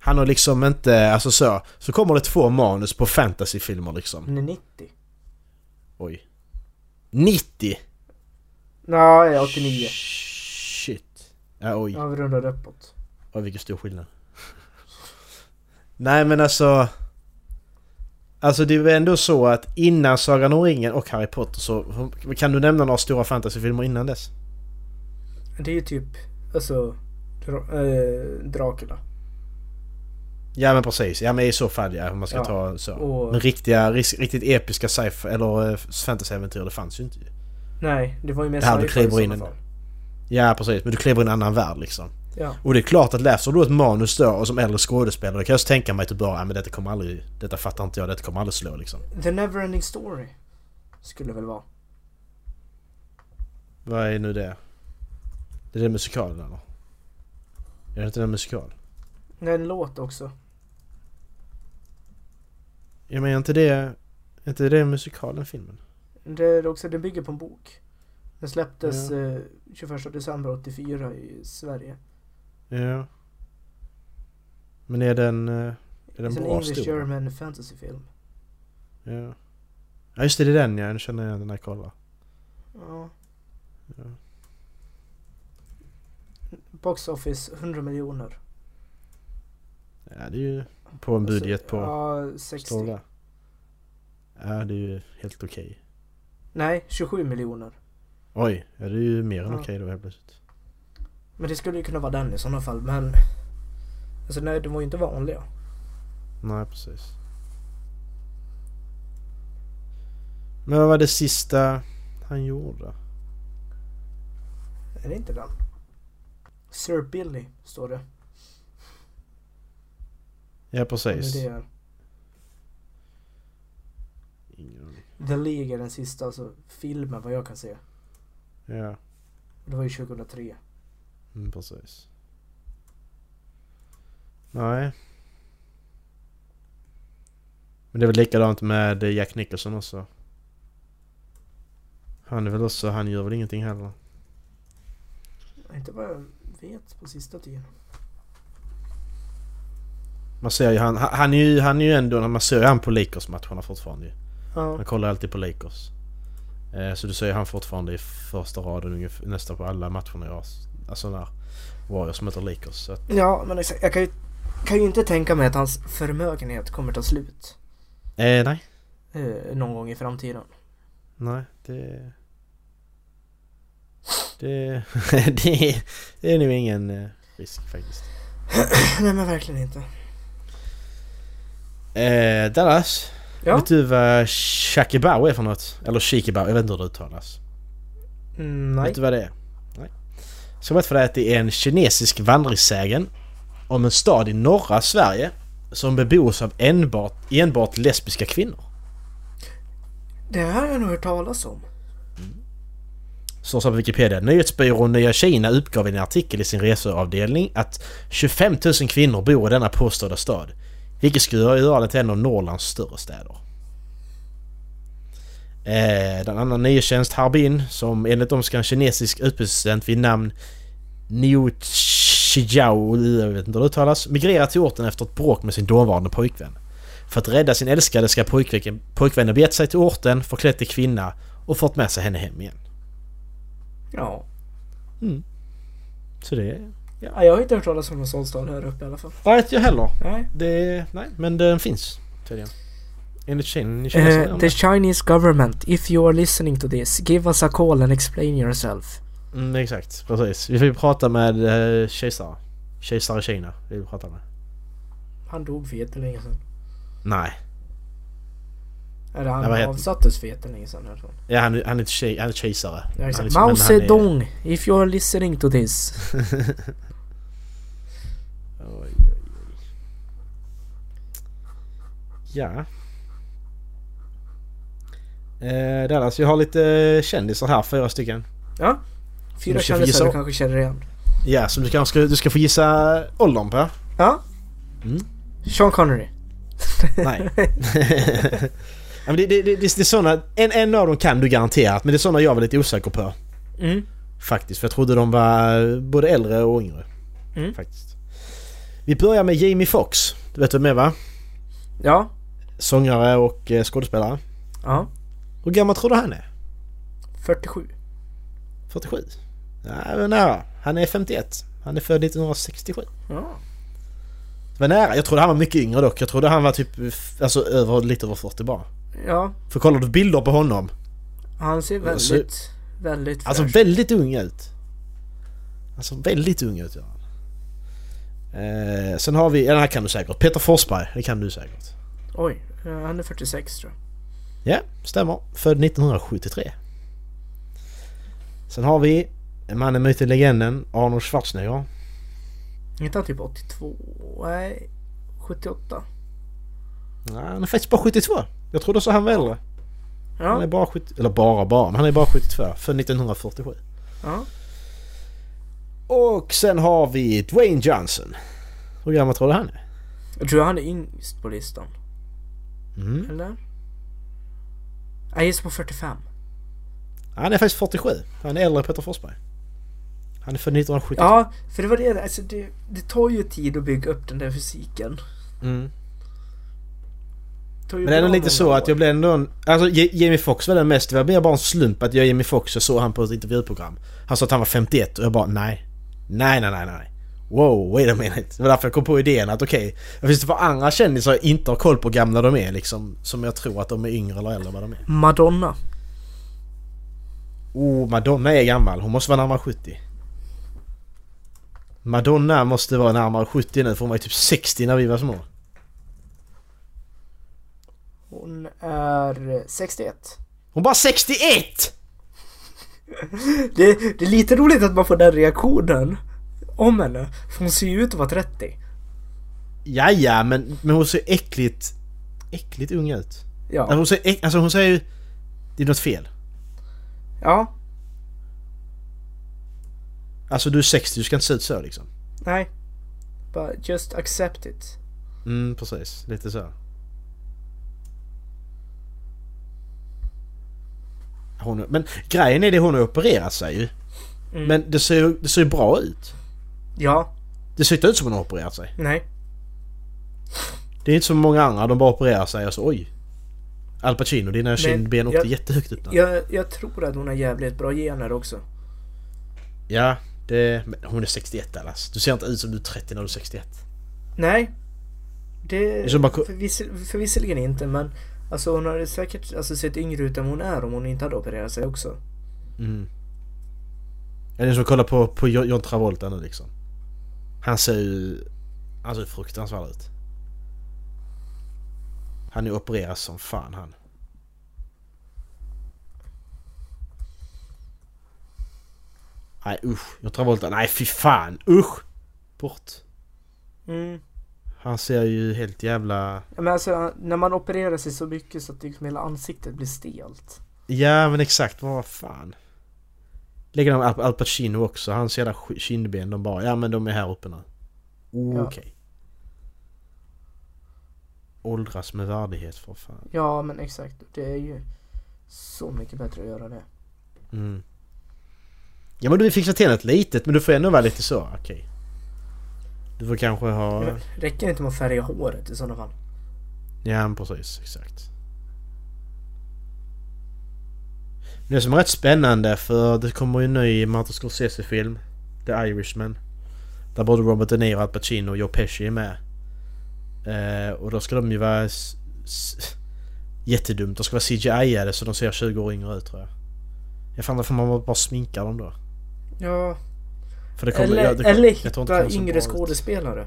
C: Han har liksom inte, alltså så, så kommer det två manus på fantasyfilmer liksom.
D: Han är 90.
C: Oj. 90!
D: Nej, 89.
C: Shit. Ja, oj.
D: Ja, vi rundar uppåt.
C: Oj, vilken stor skillnad. Nej men alltså... Alltså det är väl ändå så att innan Sagan om ringen och Harry Potter så... Kan du nämna några stora fantasyfilmer innan dess?
D: Det är ju typ, alltså, dra- eh, Dracula.
C: Ja men precis, ja men i så fall ja, om man ska
D: Ja,
C: ta så.
D: och-
C: Men riktiga, ris- riktigt episka sci eller eh, fantasyäventyr det fanns ju inte ju.
D: Nej, det var ju mer
C: Det här du
D: sci-fi
C: kliver
D: i
C: in
D: sådana
C: en-
D: fall.
C: Ja precis, men du kliver i en annan värld liksom.
D: Ja.
C: Och det är klart att läser du ett manus då och som äldre skådespelare då kan jag också tänka mig att du bara, ja men detta kommer aldrig, detta fattar inte jag, detta kommer aldrig slå liksom.
D: The Neverending Story. Skulle det väl vara.
C: Vad är nu det? Det är det musikalen eller? Är det inte den musikal?
D: Det är en låt också.
C: Jag menar inte det... är inte det musikalen filmen?
D: Det är också, den bygger på en bok. Den släpptes eh, 21 december 84 i Sverige.
C: Ja. Men är den... eh, Är det en
D: Det är en
C: bra
D: English
C: stor?
D: German fantasyfilm.
C: Ja. ja, just det. Det är den ja. Nu känner jag den när jag kollar.
D: Ja. Box Office 100 miljoner.
C: Ja, det är ju på en budget på...
D: Alltså,
C: står
D: Ja, 60.
C: det där. Ja, det är ju helt okej.
D: Nej, 27 miljoner.
C: Oj, ja, det är ju mer än
D: Ja.
C: okej då helt plötsligt.
D: Men det skulle ju kunna vara den i sådana fall, men... Alltså nej, de var ju inte vanliga.
C: Nej, precis. Men vad var det sista han gjorde?
D: Är det inte den? Sir Billy, står det.
C: Ja,
D: Men
C: precis.
D: Det är
C: Ingen aning.
D: The League är den sista alltså, filmen, vad jag kan se.
C: Ja,
D: Det var ju 2003.
C: mm, precis. Nej. Men det är väl likadant med Jack Nicholson också. Han är väl också, han gör väl ingenting heller.
D: Inte vad jag vet på sista tiden.
C: Man ser ju han, han- han är ju, han är ju ändå, man ser ju han på Lakers-matcherna fortfarande ju.
D: Ja.
C: Han kollar alltid på Lakers. Eh, så du ser ju han fortfarande i första raden ungefär, nästan på alla matcherna jag har. Alltså när Warriors möter Lakers. Så att,
D: Ja, men exakt. Jag kan ju, kan ju inte tänka mig att hans förmögenhet kommer ta slut.
C: eh, nej,
D: Eh, någon gång i framtiden.
C: nej det... Det, (laughs) det, är- det är nog ingen eh, risk faktiskt.
D: (clears throat) Nej men verkligen inte.
C: Eh, Dallas,
D: Ja.
C: vet du vad Shakibao är för något? Eller Shikibao, jag vet inte hur det uttalas.
D: Mm, nej.
C: Vet du vad det är? Nej. Ska berätta för dig att det är en kinesisk vandringssägen om en stad i norra Sverige som bebos av enbart, enbart lesbiska kvinnor.
D: Det här har jag nog hört talas om.
C: Så sa på Wikipedia. Nyhetsbyrån Nya Kina uppgav i en artikel i sin reseavdelning att 25 000 kvinnor bor i denna påstådda stad. Vilket skulle göra den till en av Norrlands större städer. Eh, den andra nyhetstjänst Harbin, som enligt dem ska en kinesisk utbytesstudent vid namn Niu Chijiao, jag vet inte hur det uttalas, migrera till orten efter ett bråk med sin dåvarande pojkvän. För att rädda sin älskade ska pojkvännen, pojkvännen begett sig till orten, förklädd till kvinna och fått med sig henne hem igen.
D: Ja.
C: Så det är...
D: ja. Jag har inte hört talas om någon sån stad här uppe i alla fall.
C: Nej, inte jag heller.
D: Nej.
C: Det är... Nej, men den finns tydligen. Enligt Kina.
D: Uh,
C: Uh,
D: the Chinese government, if you are listening to this, give us a call and explain yourself.
C: mm, exakt, precis. Vi vill prata med uh, kejsare. Kejsare Kina vill vi prata med.
D: Han dog för jättelänge sedan.
C: Nej.
D: Eller
C: Ja, vad
D: han
C: heter-
D: avsattes för jättelänge sedan. Här från.
C: Ja, han, han är inte tjej, han är kejsare.
D: Ja,
C: Han är
D: exakt.
C: liksom- men
D: Mao
C: han är-
D: Zedong, if you are listening to (laughs) this.
C: Oj, oj, oj. Ja. Eh, Dallas, jag har lite eh, kändisar här, fyra stycken.
D: Ja.
C: Du
D: Fyra
C: ska få gissa.
D: kändisar du kanske känner igen.
C: Ja, som du kanske ska, du ska få gissa åldern på.
D: Ja.
C: Mm.
D: Sean Connery.
C: Nej. Ja, men det, det, det, det är såna, en, en av dem kan du garanterat, men det är såna jag var lite osäker på.
D: Mm.
C: Faktiskt, för jag trodde de var eh, både äldre och yngre.
D: Mm.
C: Faktiskt. Vi börjar med Jamie Foxx. Du vet vem det är va?
D: Ja.
C: Sångare och eh, skådespelare.
D: Ja.
C: Hur gammal tror du han är?
D: 47.
C: 47? Nej, det var nära. Han är 51. Han är född 1967.
D: Ja.
C: Det var nära. Jag trodde han var mycket yngre dock. Jag trodde han var typ f- alltså, över, lite över 40 bara.
D: Ja.
C: För kollar du bilder på honom
D: Han ser väldigt,
C: Alltså-
D: väldigt
C: Alltså
D: fräsch.
C: väldigt ung ut. Alltså väldigt ung ut gör han. Eh, sen har vi, ja, den här kan du säkert. Peter Forsberg, det kan du säkert.
D: Oj. eh, Han är 46 tror jag.
C: Ja, stämmer. Född 1973. Sen har vi mannen, myten, legenden Arnold Schwarzenegger.
D: Är inte han typ 82? Nej. 78.
C: Nej, han är faktiskt bara 72. Jag trodde så han var äldre. Han är
D: Ja.
C: bara 70, eller bara bara, men han är bara 72. Född 1947.
D: Ja.
C: Och sen har vi Dwayne Johnson. Hur gammal tror du han är?
D: Jag tror han är yngst på listan.
C: Mm.
D: Eller? Jag gissar på 45.
C: Han är faktiskt 47. Han är äldre än Peter Forsberg. Han är född 1970.
D: Ja, för det var det. Alltså det, det tar ju tid att bygga upp den där fysiken.
C: Mm.
D: tog ju
C: Men det är
D: bra
C: nog lite
D: många
C: så att
D: år.
C: jag blev ändå en, Alltså Je- Jamie Foxx var den mest... Det var mer bara en slump att jag Jamie Foxx jag såg han på ett intervjuprogram. Han sa att han var 51 och jag bara nej. Nej, nej, nej, nej. Wow, wait a minute. Det var därför jag kom på idén att okej, okay, finns det för andra kändisar jag inte har koll på hur gamla de är liksom? Som jag tror att de är yngre eller äldre än vad de är.
D: Madonna.
C: Oh, Madonna är gammal. Hon måste vara närmare 70. Madonna måste vara närmare 70 nu för hon var ju typ 60 när vi var små.
D: Hon är eh, 61.
C: Hon bara 61!
D: Det, det är lite roligt att man får den reaktionen om henne. För hon ser ju ut att vara 30.
C: Jaja, men, men hon ser äckligt... Äckligt ung ut. Alltså
D: Ja.
C: hon ser, äck- alltså hon ser ju... Det är något fel.
D: Ja.
C: Alltså du är 60, du ska inte se ut så liksom.
D: Nej. Bara just accept it.
C: Mm, precis. Lite så. Hon, men grejen är det, hon har opererat sig ju.
D: Mm.
C: Men det ser ju det ser ju bra ut.
D: Ja.
C: Det ser inte ut som hon har opererat sig.
D: Nej.
C: Det är inte som många andra, de bara opererar sig och så oj. Al Pacino, dina kindben åkte
D: jag-
C: jättehögt upp där.
D: Jag, jag tror att hon har jävligt bra gener också.
C: Ja, det, men hon är 61 Dallas. Du ser inte ut som du är 30 när du är 61.
D: Nej. Det...
C: Så bara ko-
D: Förviss- förvisserligen inte men... Alltså hon hade säkert alltså, sett yngre ut än hon är om hon inte hade opererat sig också.
C: Mm. Är det som att kolla på, på Jo- John Travolta nu liksom? Han ser ju... Han ser ju fruktansvärd ut. Han är opererad som fan han. Nej usch, John Travolta. Nej fy fan, usch! Bort.
D: Mm.
C: Han ser ju helt jävla...
D: Ja, Men alltså när man opererar sig så mycket så att liksom hela ansiktet blir stelt.
C: Ja men exakt, vad fan. Lägger de Al Al Pacino också, hans jävla sk- kindben de bara, ja men de är här uppe nu. Okej.
D: Ja.
C: Åldras med värdighet för fan.
D: Ja men exakt. Det är ju så mycket bättre att göra det.
C: Mm. Ja men du vill fixa till något litet men du får ändå vara lite så, okej. Du får kanske ha...
D: Men Mm. räcker det inte med att färga håret i sådana fall?
C: Ja, men precis. Exakt. Men det som är rätt spännande för det kommer ju en ny Martin Scorsese-film. The Irishman. Där både Robert De Niro, Al Pacino och Joe Pesci är med. Eh, och då ska de ju vara... S- s- jättedumt. De ska vara CGI-ade så de ser 20 år yngre ut tror jag. Jag fan varför man bara sminkar dem då?
D: Ja.
C: För det
D: Eller,
C: ja, det kommer-
D: eller
C: jag tror inte det
D: hitta
C: kommer så
D: yngre
C: bra ut.
D: skådespelare.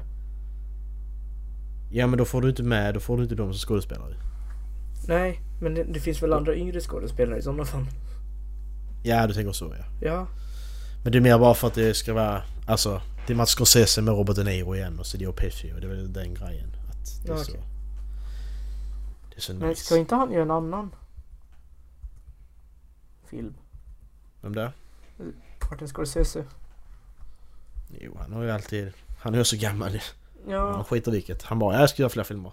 C: Ja men då får du inte med, då får du inte dem som skådespelare.
D: Nej, men det, det finns väl andra yngre skådespelare i sådana fall.
C: Ja du tänker så ja.
D: Ja.
C: Men det är mer bara för att det ska vara... Alltså, det är Mats Scorsese med Robert De Niro igen och så det är Pesci och det är väl den grejen. Att det är
D: Ja,
C: så...
D: okej.
C: Det är så
D: Men
C: nice.
D: ska inte han göra en annan film?
C: Vem det?
D: Martin Scorsese.
C: Jo, han har ju alltid... Han är ju så gammal ju. Han
D: Ja,
C: skiter vilket. Han bara, jag ska göra fler filmer.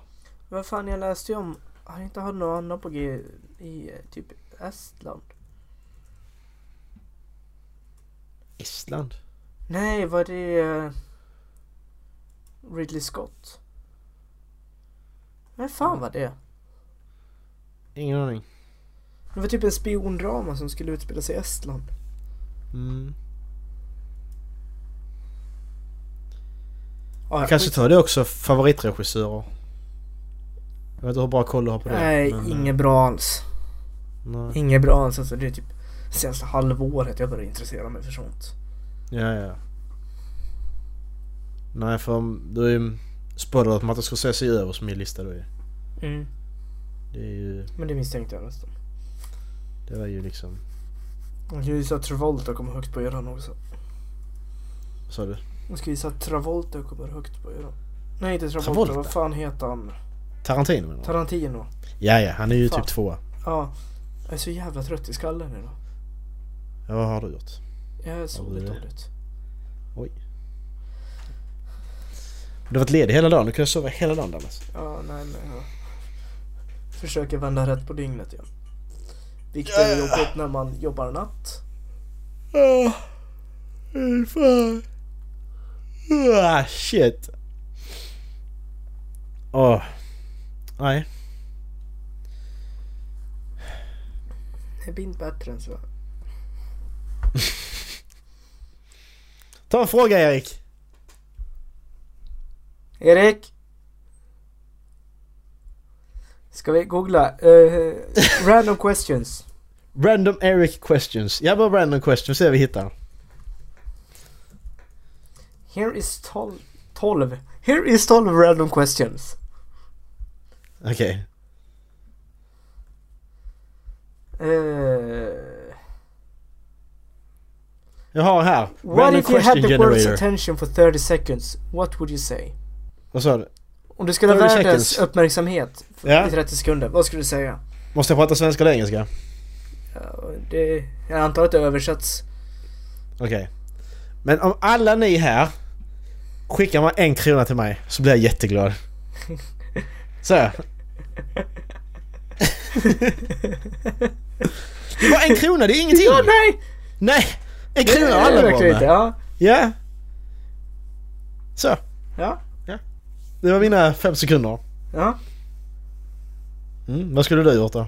D: vad fan jag läste ju om han inte hade någon annan på G i eh, typ Estland.
C: Estland?
D: Nej, var det eh, Ridley Scott? Men fan var det?
C: Ingen aning.
D: Det var typ en spiondrama som skulle utspela sig i Estland.
C: Mm.
D: Ah, ja,
C: Kanske
D: skit-
C: tar det också favoritregissörer. Jag vet inte hur bra koll du har på det.
D: Nej,
C: men, eh,
D: inget bra alls.
C: Nej.
D: Inget bra alls. Alltså, det är typ senaste halvåret jag började intressera mig för sånt.
C: Ja, ja. Nej, för um, du är ju... Spoiler att Martin Scorsese är över som min lista då ju.
D: Mm.
C: Det är ju...
D: Men det misstänkte jag nästan.
C: Det var ju liksom...
D: Jag skulle gissa att Travolta kommer högt på eran också.
C: Vad sa du?
D: Jag skulle gissa att Travolta kommer högt på eran. Nej, inte Travolta.
C: Travolta?
D: Vad fan heter han?
C: Tarantino menar du?
D: Tarantino.
C: Ja, ja, han är ju
D: Fan.
C: typ tvåa.
D: Ja. Jag är så jävla trött i skallen idag.
C: Ja, vad har du gjort?
D: Jag är så
C: Ja, det är det.
D: dåligt.
C: Oj. Du har varit ledig hela dagen, du kunde sova hela dagen Dallas.
D: Ja, nej men jag försöker vända rätt på dygnet igen. Vilket
C: Ja.
D: är jobbigt när man jobbar natt.
C: Ja, fy fan. Ah, shit. Åh. Nej.
D: Det blir inte bättre än så.
C: Ta en fråga Erik.
D: Erik? Ska vi googla? Eh, random questions.
C: Random Eric questions. Jag bara random questions ser vi hittar.
D: Here is 12. 12. Here is 12 random questions.
C: Okej.
D: Eh,
C: Jag har här.
D: what
C: Random
D: if you had
C: question
D: the world's
C: generator.
D: attention for 30 seconds? What would you say?
C: Vad sa du?
D: Om du skulle ha
C: 30
D: världens
C: seconds.
D: uppmärksamhet
C: Ja?
D: i 30 sekunder, vad skulle du säga?
C: Måste jag prata svenska eller engelska?
D: Ja, det, jag antar att det översätts.
C: Okej. Men om alla ni här skickar man en krona till mig så blir jag jätteglad. Så. Det var en krona, det är ingenting!
D: Ja, nej!
C: Nej! En krona har alla
D: Det är
C: bra
D: verkligen inte,
C: med.
D: Ja,
C: Ja. Så.
D: ja,
C: Det var mina fem sekunder.
D: ja.
C: Mm, vad skulle du gjort då?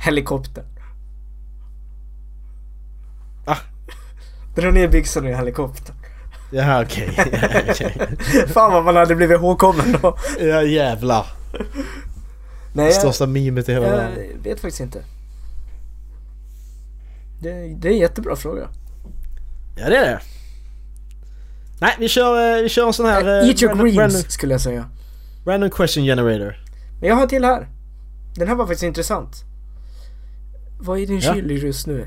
D: Helikopter.
C: Ah.
D: (laughs) Dra ner byxorna i helikopter.
C: Jaha okej. (laughs) Ja, okej.
D: (laughs) Fan vad man hade blivit ihågkommen då.
C: Ja jävlar.
D: Nej, jag,
C: Största memet i hela
D: jag
C: världen.
D: vet faktiskt inte. Det, det är en jättebra fråga.
C: Ja det är det. Nej vi kör, eh, vi kör en sån här... eh,
D: Eat your
C: random-
D: greens
C: random-
D: skulle jag säga.
C: Random question generator.
D: Men jag har en till här. Den här var faktiskt intressant. Vad är din
C: Ja.
D: kyl just nu?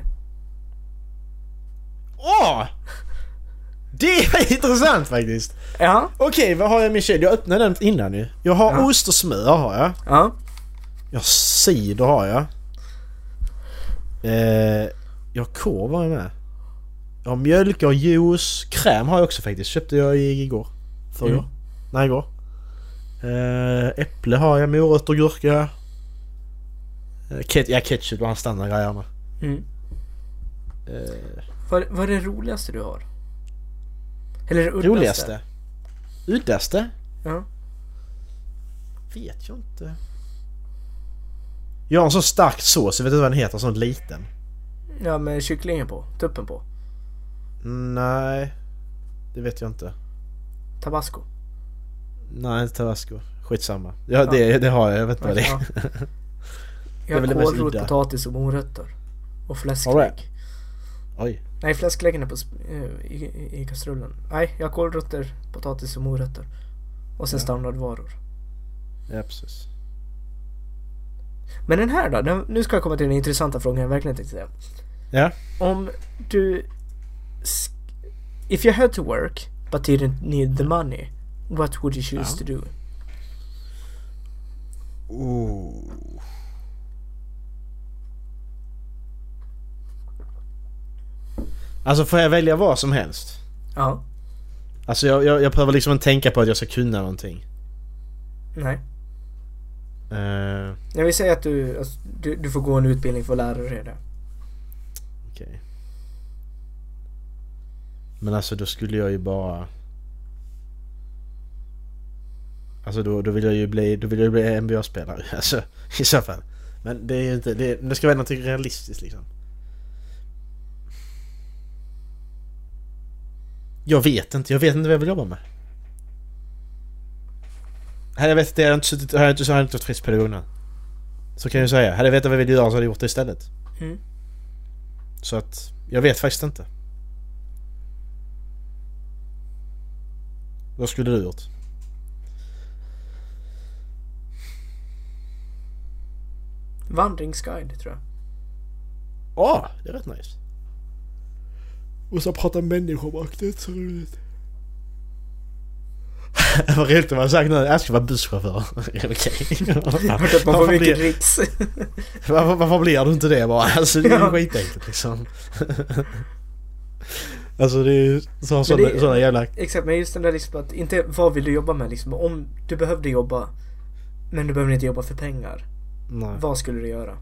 C: Åh! (laughs) Det är intressant faktiskt.
D: Ja,
C: Okej, vad har jag i min kyl? Jag öppnade den innan nu. Jag har
D: Ja.
C: ost och smör har jag.
D: ja,
C: Jag har cider har jag. Eh, jag har korv har jag med. Jag har mjölk, jag har juice, kräm har jag också faktiskt. Köpte jag i- igår. Förrgår.
D: Mm.
C: Nej, igår. Eh, äpple har jag, morötter, gurka. Eh, ket- ja, ketchup var en standardgrej med.
D: Mm.
C: Eh.
D: Vad, vad är det roligaste du har? Eller det uddaste?
C: Roligaste? Uddaste?
D: Ja.
C: Vet jag inte. Jag har en sån stark sås, jag vet inte vad den heter, en sån liten.
D: ja, med kycklingen på. Tuppen på.
C: Nej, det vet jag inte.
D: Tabasco.
C: Nej, inte tabasco. Skitsamma. Ja, det, det har jag, jag vet inte vad det (laughs)
D: Ja.
C: är.
D: Jag
C: väl det
D: har
C: mest
D: kålrot,
C: udda.
D: potatis och morötter. Och fläsklägg.
C: All right. Oj.
D: Nej, fläskläggen är på, sp- eh, i, i, i kastrullen. Nej, jag har kålrötter, potatis och morötter. Och sen standardvaror.
C: Ja, precis.
D: Men den här då? Den, nu ska jag komma till den intressanta frågan jag verkligen tänkte säga.
C: Ja.
D: Om du... sk- If you had to work, but didn't need the money, what would you choose
C: Ja.
D: to do?
C: Ooh. Alltså får jag välja vad som helst?
D: Ja.
C: Alltså jag, jag, jag behöver liksom inte tänka på att jag ska kunna någonting.
D: Nej.
C: Eh,
D: Jag vill säga att du, alltså, du, du får gå en utbildning för att lära dig det.
C: Okej. Men alltså då skulle jag ju bara... Alltså då, då vill jag ju bli, då vill jag ju bli NBA-spelare (laughs) alltså, i så fall. Men det är ju inte, det, det ska vara något realistiskt liksom. Jag vet inte, jag vet inte vad jag vill jobba med. Hade jag vetat det hade jag inte suttit, hade jag inte, hade jag inte varit fritidspedagog nu. Så kan jag ju säga. Hade jag vetat vad jag ville göra så hade jag gjort det istället.
D: Mm.
C: Så att jag vet faktiskt inte. Vad skulle du gjort?
D: Vandringsguide tror jag.
C: Ja, det är rätt nice. Och så prata människomaktigt så roligt. (laughs) Vad roligt det var sagt nu. Jag ska vara (laughs) busschaufför. Okej. (laughs)
D: Hört att man får
C: Varför
D: mycket
C: blir-
D: dricks.
C: Varför, varför blir du inte det (laughs) bara? Alltså det är ju
D: Ja.
C: skitenkelt liksom. (laughs) alltså det är ju sådana
D: Men det-
C: såna jävla...
D: (laughs) Exakt, men just den där liksom att inte vad vill du jobba med liksom. Om du behövde jobba, men du behöver inte jobba för pengar.
C: Nej.
D: Vad skulle du göra?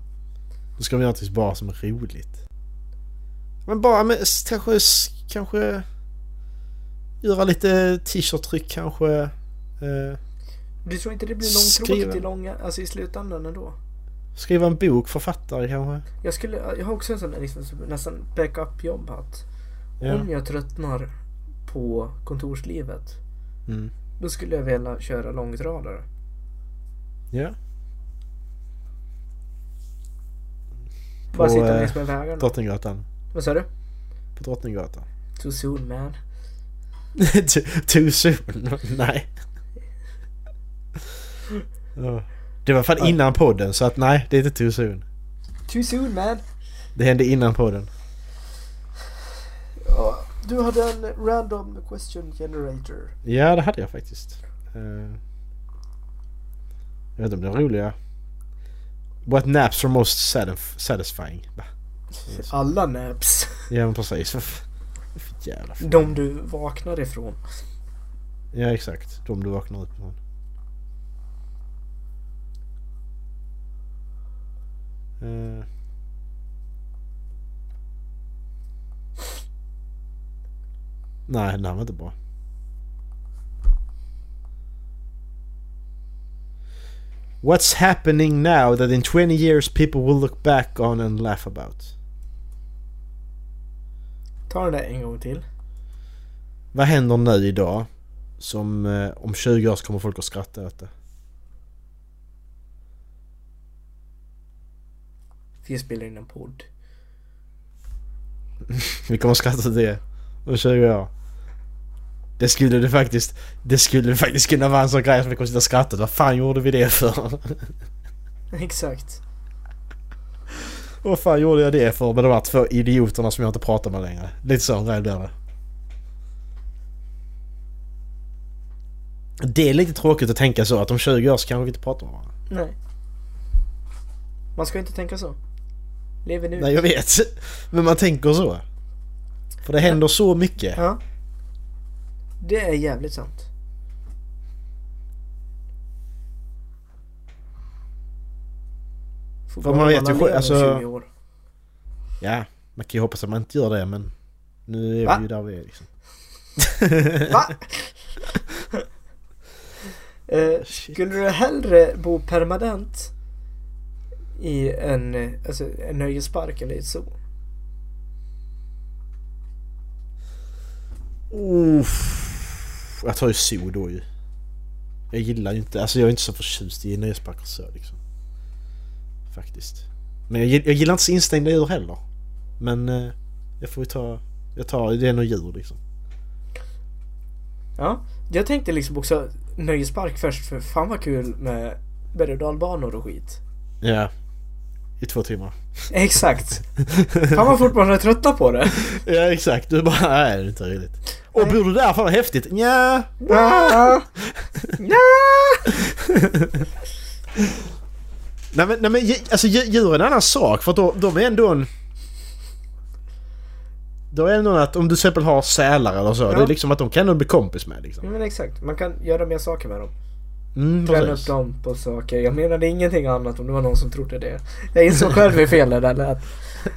C: Då ska man göra något bara som är roligt. Men bara med, s- kanske, s- kanske göra lite t-shirt-tryck kanske. Eh,
D: Du tror inte det blir
C: Skriva.
D: långtråkigt i långa, alltså i slutändan ändå?
C: Skriva en bok, författare kanske?
D: Jag, skulle, jag har också en sån där liksom, som nästan backup-jobb att
C: Ja.
D: om jag tröttnar på kontorslivet
C: Mm.
D: då skulle jag vilja köra långtradare.
C: ja.
D: Bara
C: På,
D: sitta
C: eh,
D: längs med vägarna.
C: Drottninggatan.
D: Vad sa du?
C: På Drottninggatan. (laughs)
D: Too soon man.
C: Too- Too soon? (laughs) nej. Ja. Det var fan innan podden så att nej, det är inte too soon.
D: Too soon man.
C: Det hände innan podden.
D: Ja, du hade en random question generator.
C: Ja, det hade jag faktiskt. Eh, jag vet inte om den roliga. What naps are most satisf- satisfying? Va?
D: Alla naps.
C: Ja, men precis. Vad f- vad för jävla f-
D: De du vaknar ifrån.
C: Ja, exakt. De du vaknar upp ifrån. Eh, Nej, den här var inte bra. What's happening now that in 20 years people will look back on and laugh about?
D: Ta den där en gång till.
C: Vad händer nu idag som eh, om 20 år så kommer folk att skratta åt det?
D: Vi spelar in en podd. (laughs)
C: Vi kommer att skratta åt det om 20 år. Det skulle det faktiskt, det skulle det faktiskt kunna vara en sån grej som vi kommer att sitta och skratta åt. Vad fan gjorde vi det för? (laughs)
D: Exakt.
C: Vad fan gjorde jag det för med de här två idioterna som jag inte pratar med längre? Lite sån grej blir det. Det är lite tråkigt att tänka så att om 20 år så kanske vi inte pratar med varandra.
D: Nej. Man ska inte tänka så. Lever nu.
C: Nej jag vet. (laughs) Men man tänker så. För det händer så mycket.
D: Ja. Det är jävligt sant.
C: För
D: Får bara
C: man vet
D: alla
C: ju
D: lever
C: själv, alltså-
D: 20 år.
C: Ja, man kan ju hoppas att man inte gör det men nu är
D: Va?
C: vi ju där vi är liksom.
D: Va?
C: (laughs) Oh,
D: eh, skulle du hellre bo permanent i en, eh, alltså, en nöjespark eller i ett zoo?
C: Uff. Jag tar ju zoo då ju. Jag gillar ju inte, alltså jag är inte så förtjust i nöjesparker så liksom. Faktiskt. Men jag, gill- jag gillar inte så instängda djur heller. Men eh, jag får ju ta, jag tar, det är nog djur liksom.
D: Ja, jag tänkte liksom också nöjespark först för fan vad kul med berg och dalbanor och skit.
C: Ja. I två timmar.
D: Exakt. Fan vad fort man är trötta på det.
C: Ja exakt, du bara nej det är inte roligt. Och bor du där? Fan vad häftigt! Nja. (laughs)
D: Ja.
C: Nej men, nej, men dj- alltså, dj- djur är en annan sak för att då, de är ändå en... Då är det ändå att om du till exempel har sälar eller så,
D: Ja.
C: det är liksom att de kan du bli kompis med liksom.
D: Men exakt, man kan göra mer saker med dem.
C: Mm,
D: Träna
C: precis.
D: upp dem på saker. Jag menade ingenting annat om det var någon som trodde det. Jag insåg själv hur fel det
C: (laughs)
D: där lät.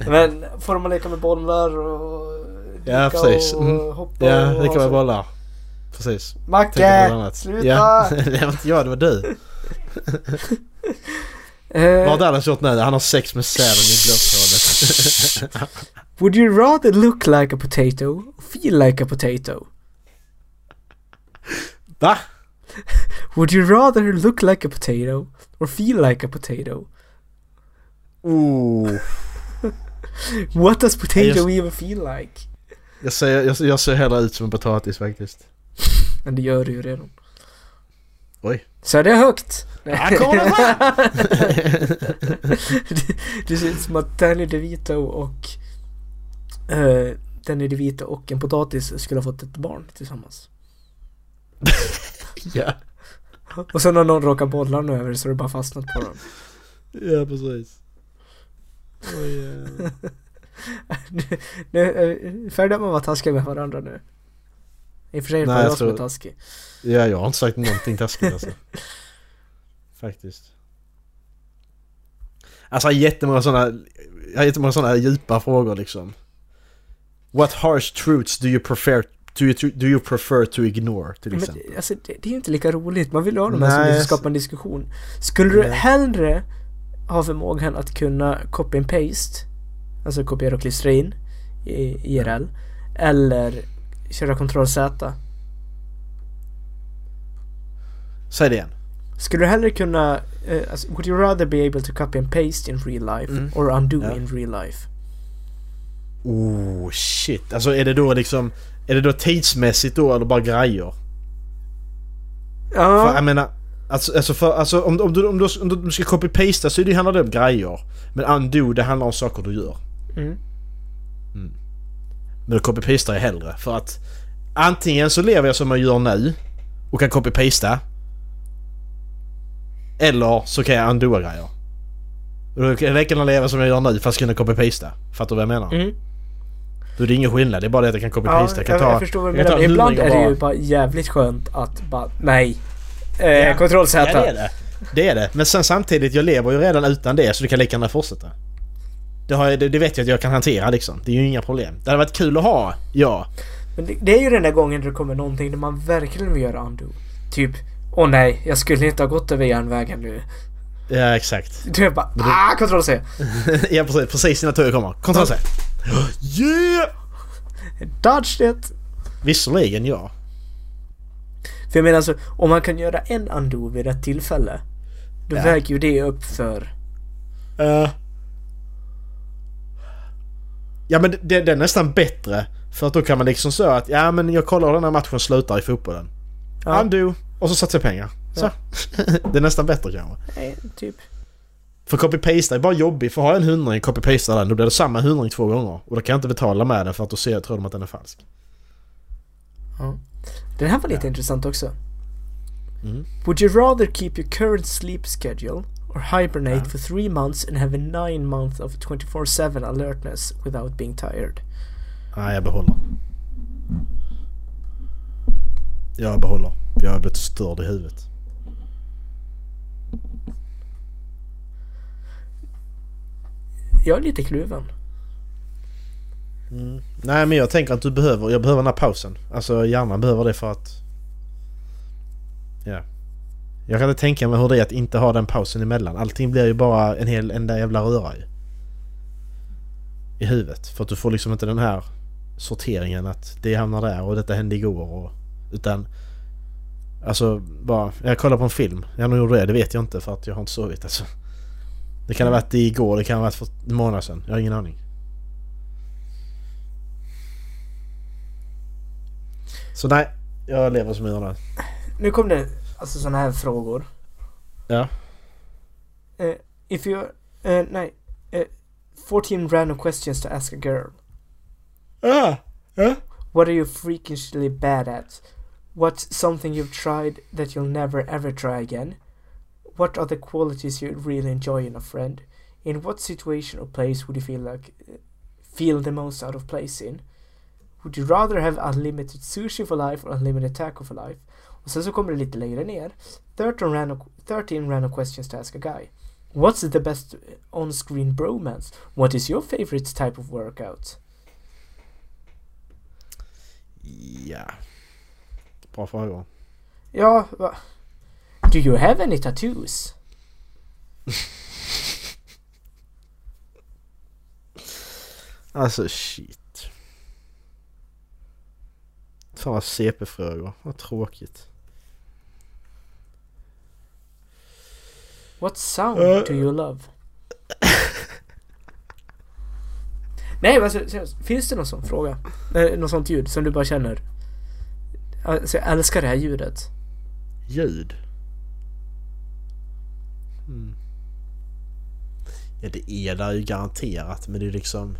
D: Men får man leka med bollar och...
C: Ja
D: leka
C: precis.
D: Och
C: Mm.
D: hoppa
C: Ja,
D: och
C: det kan
D: så.
C: vara bollar. Precis. Tänker på något
D: Macke!
C: annat.
D: Sluta!
C: Ja. (laughs) det var inte jag, det var du. Vad har
D: (laughs) Eh,
C: Dallas gjort nu? Han har sex med sälen i blåshålet.
D: would you rather look like a potato or feel like a potato?
C: Va?
D: (laughs) Would you rather look like a potato or feel like a potato?
C: Oh.
D: What does potato
C: just-
D: even feel like?
C: Jag ser, jag, jag ser hellre ut som en potatis faktiskt.
D: Men det gör du ju redan.
C: Oj.
D: Så det är högt.
C: Här kommer den
D: (laughs)
C: fram!
D: Det ser ut som att Danny DeVito och eh, Danny DeVito och en potatis skulle ha fått ett barn tillsammans.
C: Ja.
D: Och sen har någon råkat bolla den över så det bara fastnat på den.
C: Ja precis. Oj, jävlar.
D: Nu, eh, färdiga med att vara taskiga med varandra nu. I och för sig är det
C: Nej,
D: bara
C: jag
D: jag som är
C: tror-
D: taskig.
C: ja jag har inte sagt någonting taskigt alltså. Faktiskt. Alltså jag har jättemånga sådana, jag har jättemånga sådana djupa frågor liksom. What harsh truths do you prefer do you, do you prefer to ignore till
D: Men
C: exempel?
D: alltså, det, det är ju inte lika roligt. Man vill ju ha de här som
C: Nej,
D: liksom
C: alltså-
D: skapar en diskussion. Skulle du
C: Nej.
D: hellre har förmågan att kunna copy and paste, alltså kopiera och klistra in i IRL, eller köra Ctrl Z.
C: Säg det igen.
D: Skulle du hellre kunna, eh, alltså, would you rather be able to copy and paste in real life or undo
C: Mm. Ja.
D: in real life?
C: Oh shit. Alltså är det då liksom... Är det då tidsmässigt då eller bara grejer? För,
D: Ja,
C: jag menar... Alltså, alltså, för, alltså om, om, du, om, du, om du ska copy-pasta så är det, handlar det om grejer. Men undo det handlar om saker du gör.
D: Mm.
C: Mm. Men då copy-pastar jag hellre för att antingen så lever jag som jag gör nu och kan copy-pasta. Eller så kan jag undoa grejer. Och då kan jag lika gärna leva som jag gör nu fast kunna copy-pasta. Fattar du vad jag menar?
D: Mm.
C: Då är det ingen skillnad, det är bara det att jag kan
D: ja
C: copy-pasta.
D: jag,
C: jag kan
D: jag,
C: ta...
D: förstår vad du
C: jag kan
D: menar.
C: ta
D: Ibland
C: hur
D: är
C: länge
D: det
C: jag
D: ju
C: bara-
D: bara jävligt skönt att bara, nej. Eh, Ctrl Z.
C: Ja, det är det. Det är det. Men sen samtidigt, jag lever ju redan utan det så det kan lika gärna fortsätta. Det, har, jag- det, det vet jag att jag kan hantera liksom. Det är ju inga problem. Det hade varit kul att ha, ja.
D: Men det, det är ju den där gången det kommer någonting där man verkligen vill göra undo. Typ, åh nej, jag skulle inte ha gått över järnvägen nu.
C: Ja, exakt. (laughs)
D: Du är bara, ah, Ctrl C.
C: Ja precis, precis innan tåget kommer. Kontroll C. (gasps) Yeah!
D: Dodge det.
C: Visserligen ja.
D: För jag menar alltså, om man kan göra en undo vid rätt tillfälle. Då
C: Ja.
D: väger ju det upp för...
C: Eh. Ja men det, det är nästan bättre. För att då kan man liksom säga att ja men jag kollar hur den här matchen slutar i fotbollen.
D: Ja.
C: Undo! Och så satsar jag pengar. Så. (laughs) det är nästan bättre kanske.
D: Nej, typ.
C: För copy-pasta är bara jobbig. För har jag en hundring copy-pasta den då blir det samma hundring två gånger. Och då kan jag inte betala med den för att då ser jag, tror de att den är falsk.
D: Den här var lite intressant också.
C: Mm.
D: Would you rather keep your current sleep schedule or hibernate for three months and have a nine month of 24-7 alertness without being tired?
C: Nej, jag behåller. Jag behåller. Jag har blivit störd i huvudet.
D: Jag är lite kluven.
C: Nej men jag tänker att du behöver, jag behöver den här pausen. Alltså hjärnan behöver det för att... Ja. Jag kan inte tänka mig hur det är att inte ha den pausen emellan. Allting blir ju bara en hel enda jävla röra ju. I huvudet. För att du får liksom inte den här sorteringen att det hamnar där och detta hände igår och... Utan... Alltså bara, jag kollar på en film. Jag nog gjorde det, det vet jag inte för att jag har inte sovit alltså. Det kan ha varit igår, det kan ha varit för en månad sedan. Jag har ingen aning. Så nej, jag lever som jag gör nu.
D: Nu kom det alltså sådana här frågor.
C: Ja.
D: Eh, if you... eh, nej. eh, 14 random questions to ask a girl.
C: Ja, ja.
D: What are you freakishly bad at? What's something you've tried that you'll never ever try again? What are the qualities you really enjoy in a friend? In what situation or place would you feel like eh, feel the most out of place in? Would you rather have unlimited sushi for life or unlimited taco for life? Och sen så kommer det lite längre ner. 13 random, 13 random questions to ask a guy. What's the best on-screen bromance? What is your favorite type of workout?
C: Ja. Bra frågor.
D: Ja, va? Do you have any tattoos?
C: Alltså shit. Fan vad CP-frågor. Vad tråkigt.
D: What sound
C: Eh.
D: do you love? Nej men alltså, seriöst, finns det någon sån fråga? Eh, något sånt ljud som du bara känner? Alltså jag älskar det här ljudet.
C: Ljud. Mm. Ja det är där ju garanterat men det är liksom...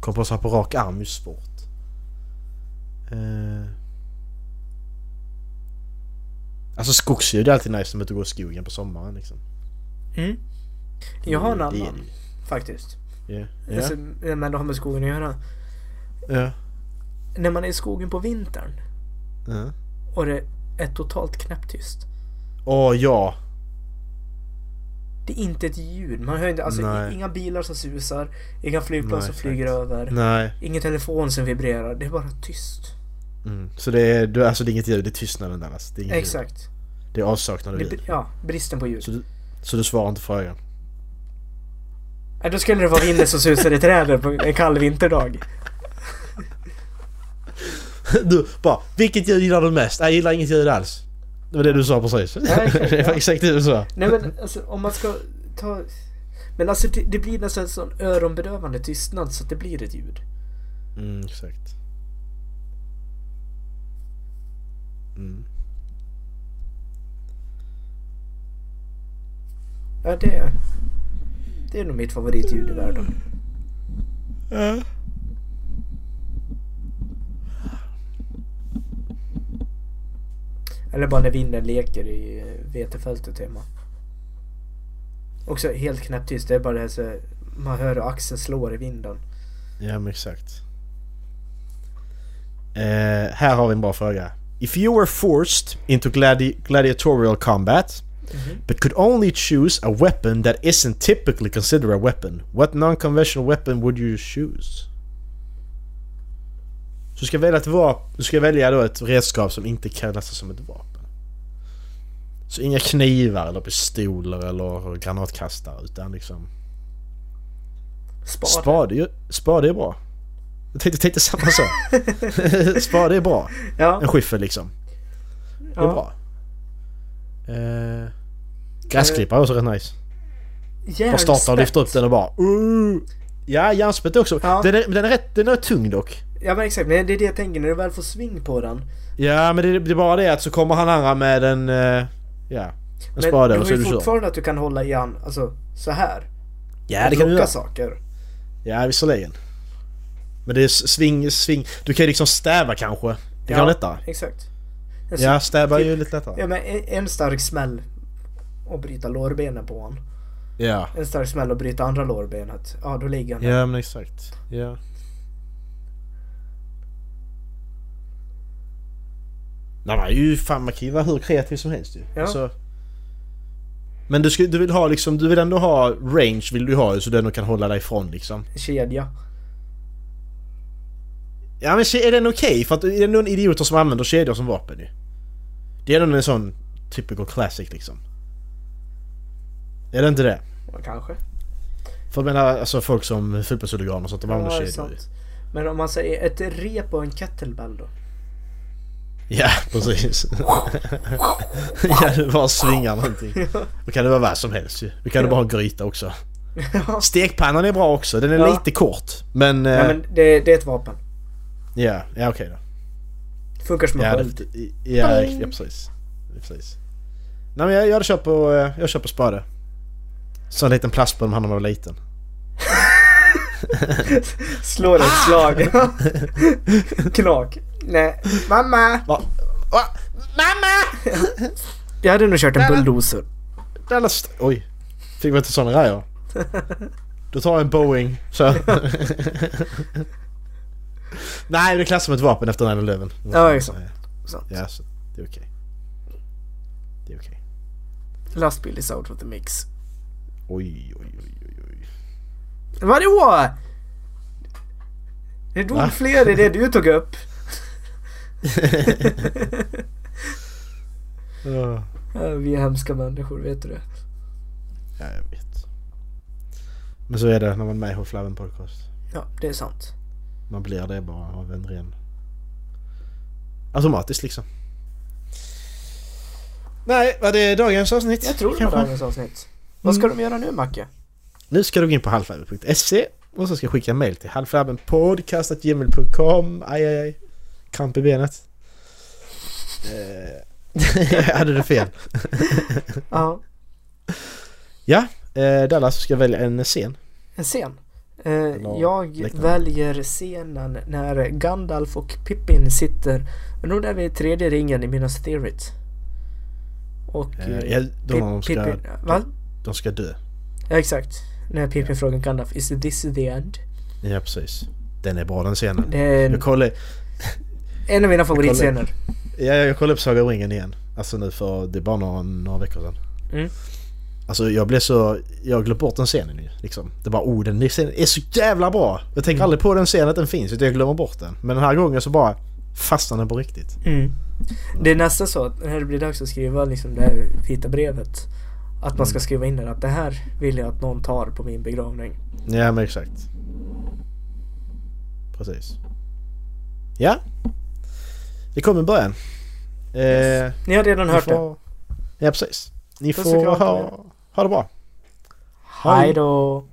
C: Kom på så här på rak arm ju svårt. Eh. Alltså skogsljud är alltid nice som att gå i skogen på sommaren liksom.
D: Mm. Jag har en
C: Det är det
D: annan faktiskt.
C: ju. Ja.
D: Alltså,
C: Ja.
D: men det har med skogen att göra.
C: Ja.
D: När man är i skogen på vintern
C: Ja.
D: och det är totalt knäpptyst.
C: Åh ja.
D: Det är inte ett ljud. Man hör inte, alltså
C: Nej.
D: inga bilar som susar, inga flygplan
C: Nej,
D: som flyger
C: exakt.
D: över.
C: Nej.
D: Ingen telefon som vibrerar, det är bara tyst.
C: Mm. Så det är, du, alltså det är inget ljud, det är tystnaden där alltså. Det är inget ljud.
D: Exakt.
C: Det är avsaknad av
D: Det,
C: ljud.
D: ja, bristen på ljud.
C: Så du, så du svarar inte frågan? (laughs)
D: Ja, Äh, då skulle det vara vinden som susar i träden på en kall vinterdag.
C: Du, bara vilket ljud gillar du mest? Jag gillar inget ljud alls. Det var det du sa precis.
D: exakt,
C: (laughs) det var
D: ja.
C: exakt det du sa.
D: Nej
C: (laughs)
D: men alltså om man ska ta... Men alltså det, det blir nästan en sån öronbedövande tystnad så att det blir ett ljud.
C: Mm, exakt. Mm.
D: Ja, det... Det är nog mitt favoritljud i världen. Eller bara när vinden leker i eh, vetefältet hemma. Också helt knäpptyst. Det är bara det här så... Man hör hur axeln slår i vinden.
C: Ja, men exakt. Eh, här har vi en bra fråga. If you were forced into gladi- gladiatorial combat but could only choose a weapon that isn't typically considered a weapon, what non-conventional weapon would you choose? Så du ska välja, ett vap- du ska välja då ett redskap som inte klassas som ett vapen. Så inga knivar eller pistoler eller granatkastare utan liksom...
D: Spad.
C: Spade, är ju- spade är bra. Jag tänkte, tänkte samma
D: (laughs)
C: sak. spade är bra. En
D: Ja.
C: skyffel liksom. Det är
D: ja.
C: bra. Eh, gräsklippare är också rätt nice. Bara starta och
D: Järnspett.
C: lyfta upp den och bara... Uh. Ja, järnspett också.
D: Ja.
C: Den, är, den är rätt den är tung dock.
D: Ja men exakt, men det är det jag tänker. När du väl får sving på den.
C: Ja, men det, det är bara det att så kommer han andra med en... eh, ja, en
D: Men
C: spade
D: du
C: och
D: har
C: så är
D: ju
C: du kör.
D: fortfarande att du kan hålla i han, alltså så här.
C: Ja, det
D: att
C: kan du
D: locka
C: göra.
D: saker.
C: Ja, visserligen. Men det är s- sving, sving. Du kan ju liksom stäva kanske. Det kan vara lättare.
D: Exakt. En
C: Ja,
D: så-
C: stäva är
D: typ-
C: ju lite lättare.
D: ja men en, en stark smäll och bryta lårbenen på honom.
C: Ja.
D: En stark smäll och bryta andra lårbenet. Ja, då ligger han där.
C: Ja men exakt. Ja. Nej man är ju fan man kan ju vara hur kreativ som helst ju.
D: Ja.
C: Alltså, men du, skulle- du vill ha liksom, du vill ändå ha range vill du ha ju, så du ändå kan hålla dig ifrån liksom.
D: En kedja.
C: Ja men ke- är den okej? För att det är någon idioter som använder kedjor som vapen ju. Det är ändå en sån typical classic liksom. Är det inte det?
D: Ja, Kanske.
C: För jag menar alltså folk som fotbollshuliganer och sånt, de
D: Ja,
C: använder
D: det är
C: kedjor ju.
D: sant. Men om man säger ett rep och en kettlebell
C: Eh.
D: då?
C: Ja, (laughs) precis. ja, du bara svingar någonting. Då kan det vara vad som helst ju. Då kan du bara ha en gryta också.
D: Ja.
C: Stekpannan är bra också. Den är
D: Ja.
C: lite kort. Men...
D: Nej
C: eh,
D: men det, det är ett vapen.
C: Ja, ja okej då.
D: Funkar som en
C: Ja,
D: sköld.
C: det, ja, ja precis. Ja, precis. Nej men jag, jag hade köpt på, eh, jag köper spade. Så en liten plastboll om han var liten.
D: Slår ett
C: Ah! (laughs)
D: slag. Knak. Nej. Mamma!
C: Va? Va? Mamma!
D: Jag hade nog kört en bulldozer.
C: Dallas... Oj. Fick vi inte såna
D: (laughs)
C: grejer? Då tar jag en Boeing. Så. Nej, det klassas som ett vapen efter 9-11.
D: Ja, exakt. Sant.
C: Ja, så det är okej. Det är okej.
D: Lastbil is out of the mix.
C: Oj, oj, oj, oj, oj.
D: Vadå? Det dog
C: Va?
D: fler i det du tog upp.
C: Ja,
D: Ja, Eh, Vi är hemska människor, vet du det?
C: jag vet. Men så är det när man är med i Håll Flabben Podcast.
D: Ja, det är sant.
C: Man blir det bara av en ren... Automatiskt liksom. Nej, var det dagens avsnitt?
D: Jag tror det var
C: kanske?
D: dagens avsnitt. Vad ska de göra nu Macke?
C: Nu ska du gå in på halvflabben.se och så ska jag skicka en mail till halvflabbenpodcast.gmail.com Aj, aj, aj. Kramp i benet. Eh, (laughs) jag hade det fel.
D: Ja,
C: Ja, eh, Dallas ska välja en scen.
D: en scen. Eh,
C: Eller
D: Jag
C: liknande.
D: väljer scenen när Gandalf och Pippin sitter, jag tror det är vid tredje ringen i Minas Tirith. Och...
C: Eh,
D: eh,
C: ja, då
D: Pip-
C: när de ska,
D: Pippin, va?
C: de ska dö.
D: Ja, exakt. När Pippin frågar Gandalf, is this the end?
C: Ja, precis. Den är bra den scenen.
D: Det är en
C: Jag kollade,
D: En av mina favoritscener.
C: ja, jag kollade upp Saga om ringen igen. Alltså nu för, det är bara några, några veckor sedan.
D: Mm.
C: Alltså jag blev så, jag glömde bort den scenen ju. Liksom. Det bara, oh den scenen är så jävla bra! Jag
D: Mm.
C: tänker aldrig på den scenen att den finns utan jag glömmer bort den. Men den här gången så bara fastnade den på riktigt.
D: Mm. Det är nästan så att när det blir dags att skriva liksom det här vita brevet. Att
C: Mm.
D: man ska skriva in där att det här vill jag att någon tar på min begravning.
C: Ja, men exakt. Precis. Ja. Det kommer början. Eh,
D: Ni har redan
C: ni
D: hört det.
C: får... Ja, precis. Ni
D: Puss och
C: får
D: kram på
C: ha... ha det bra.
D: Hej då!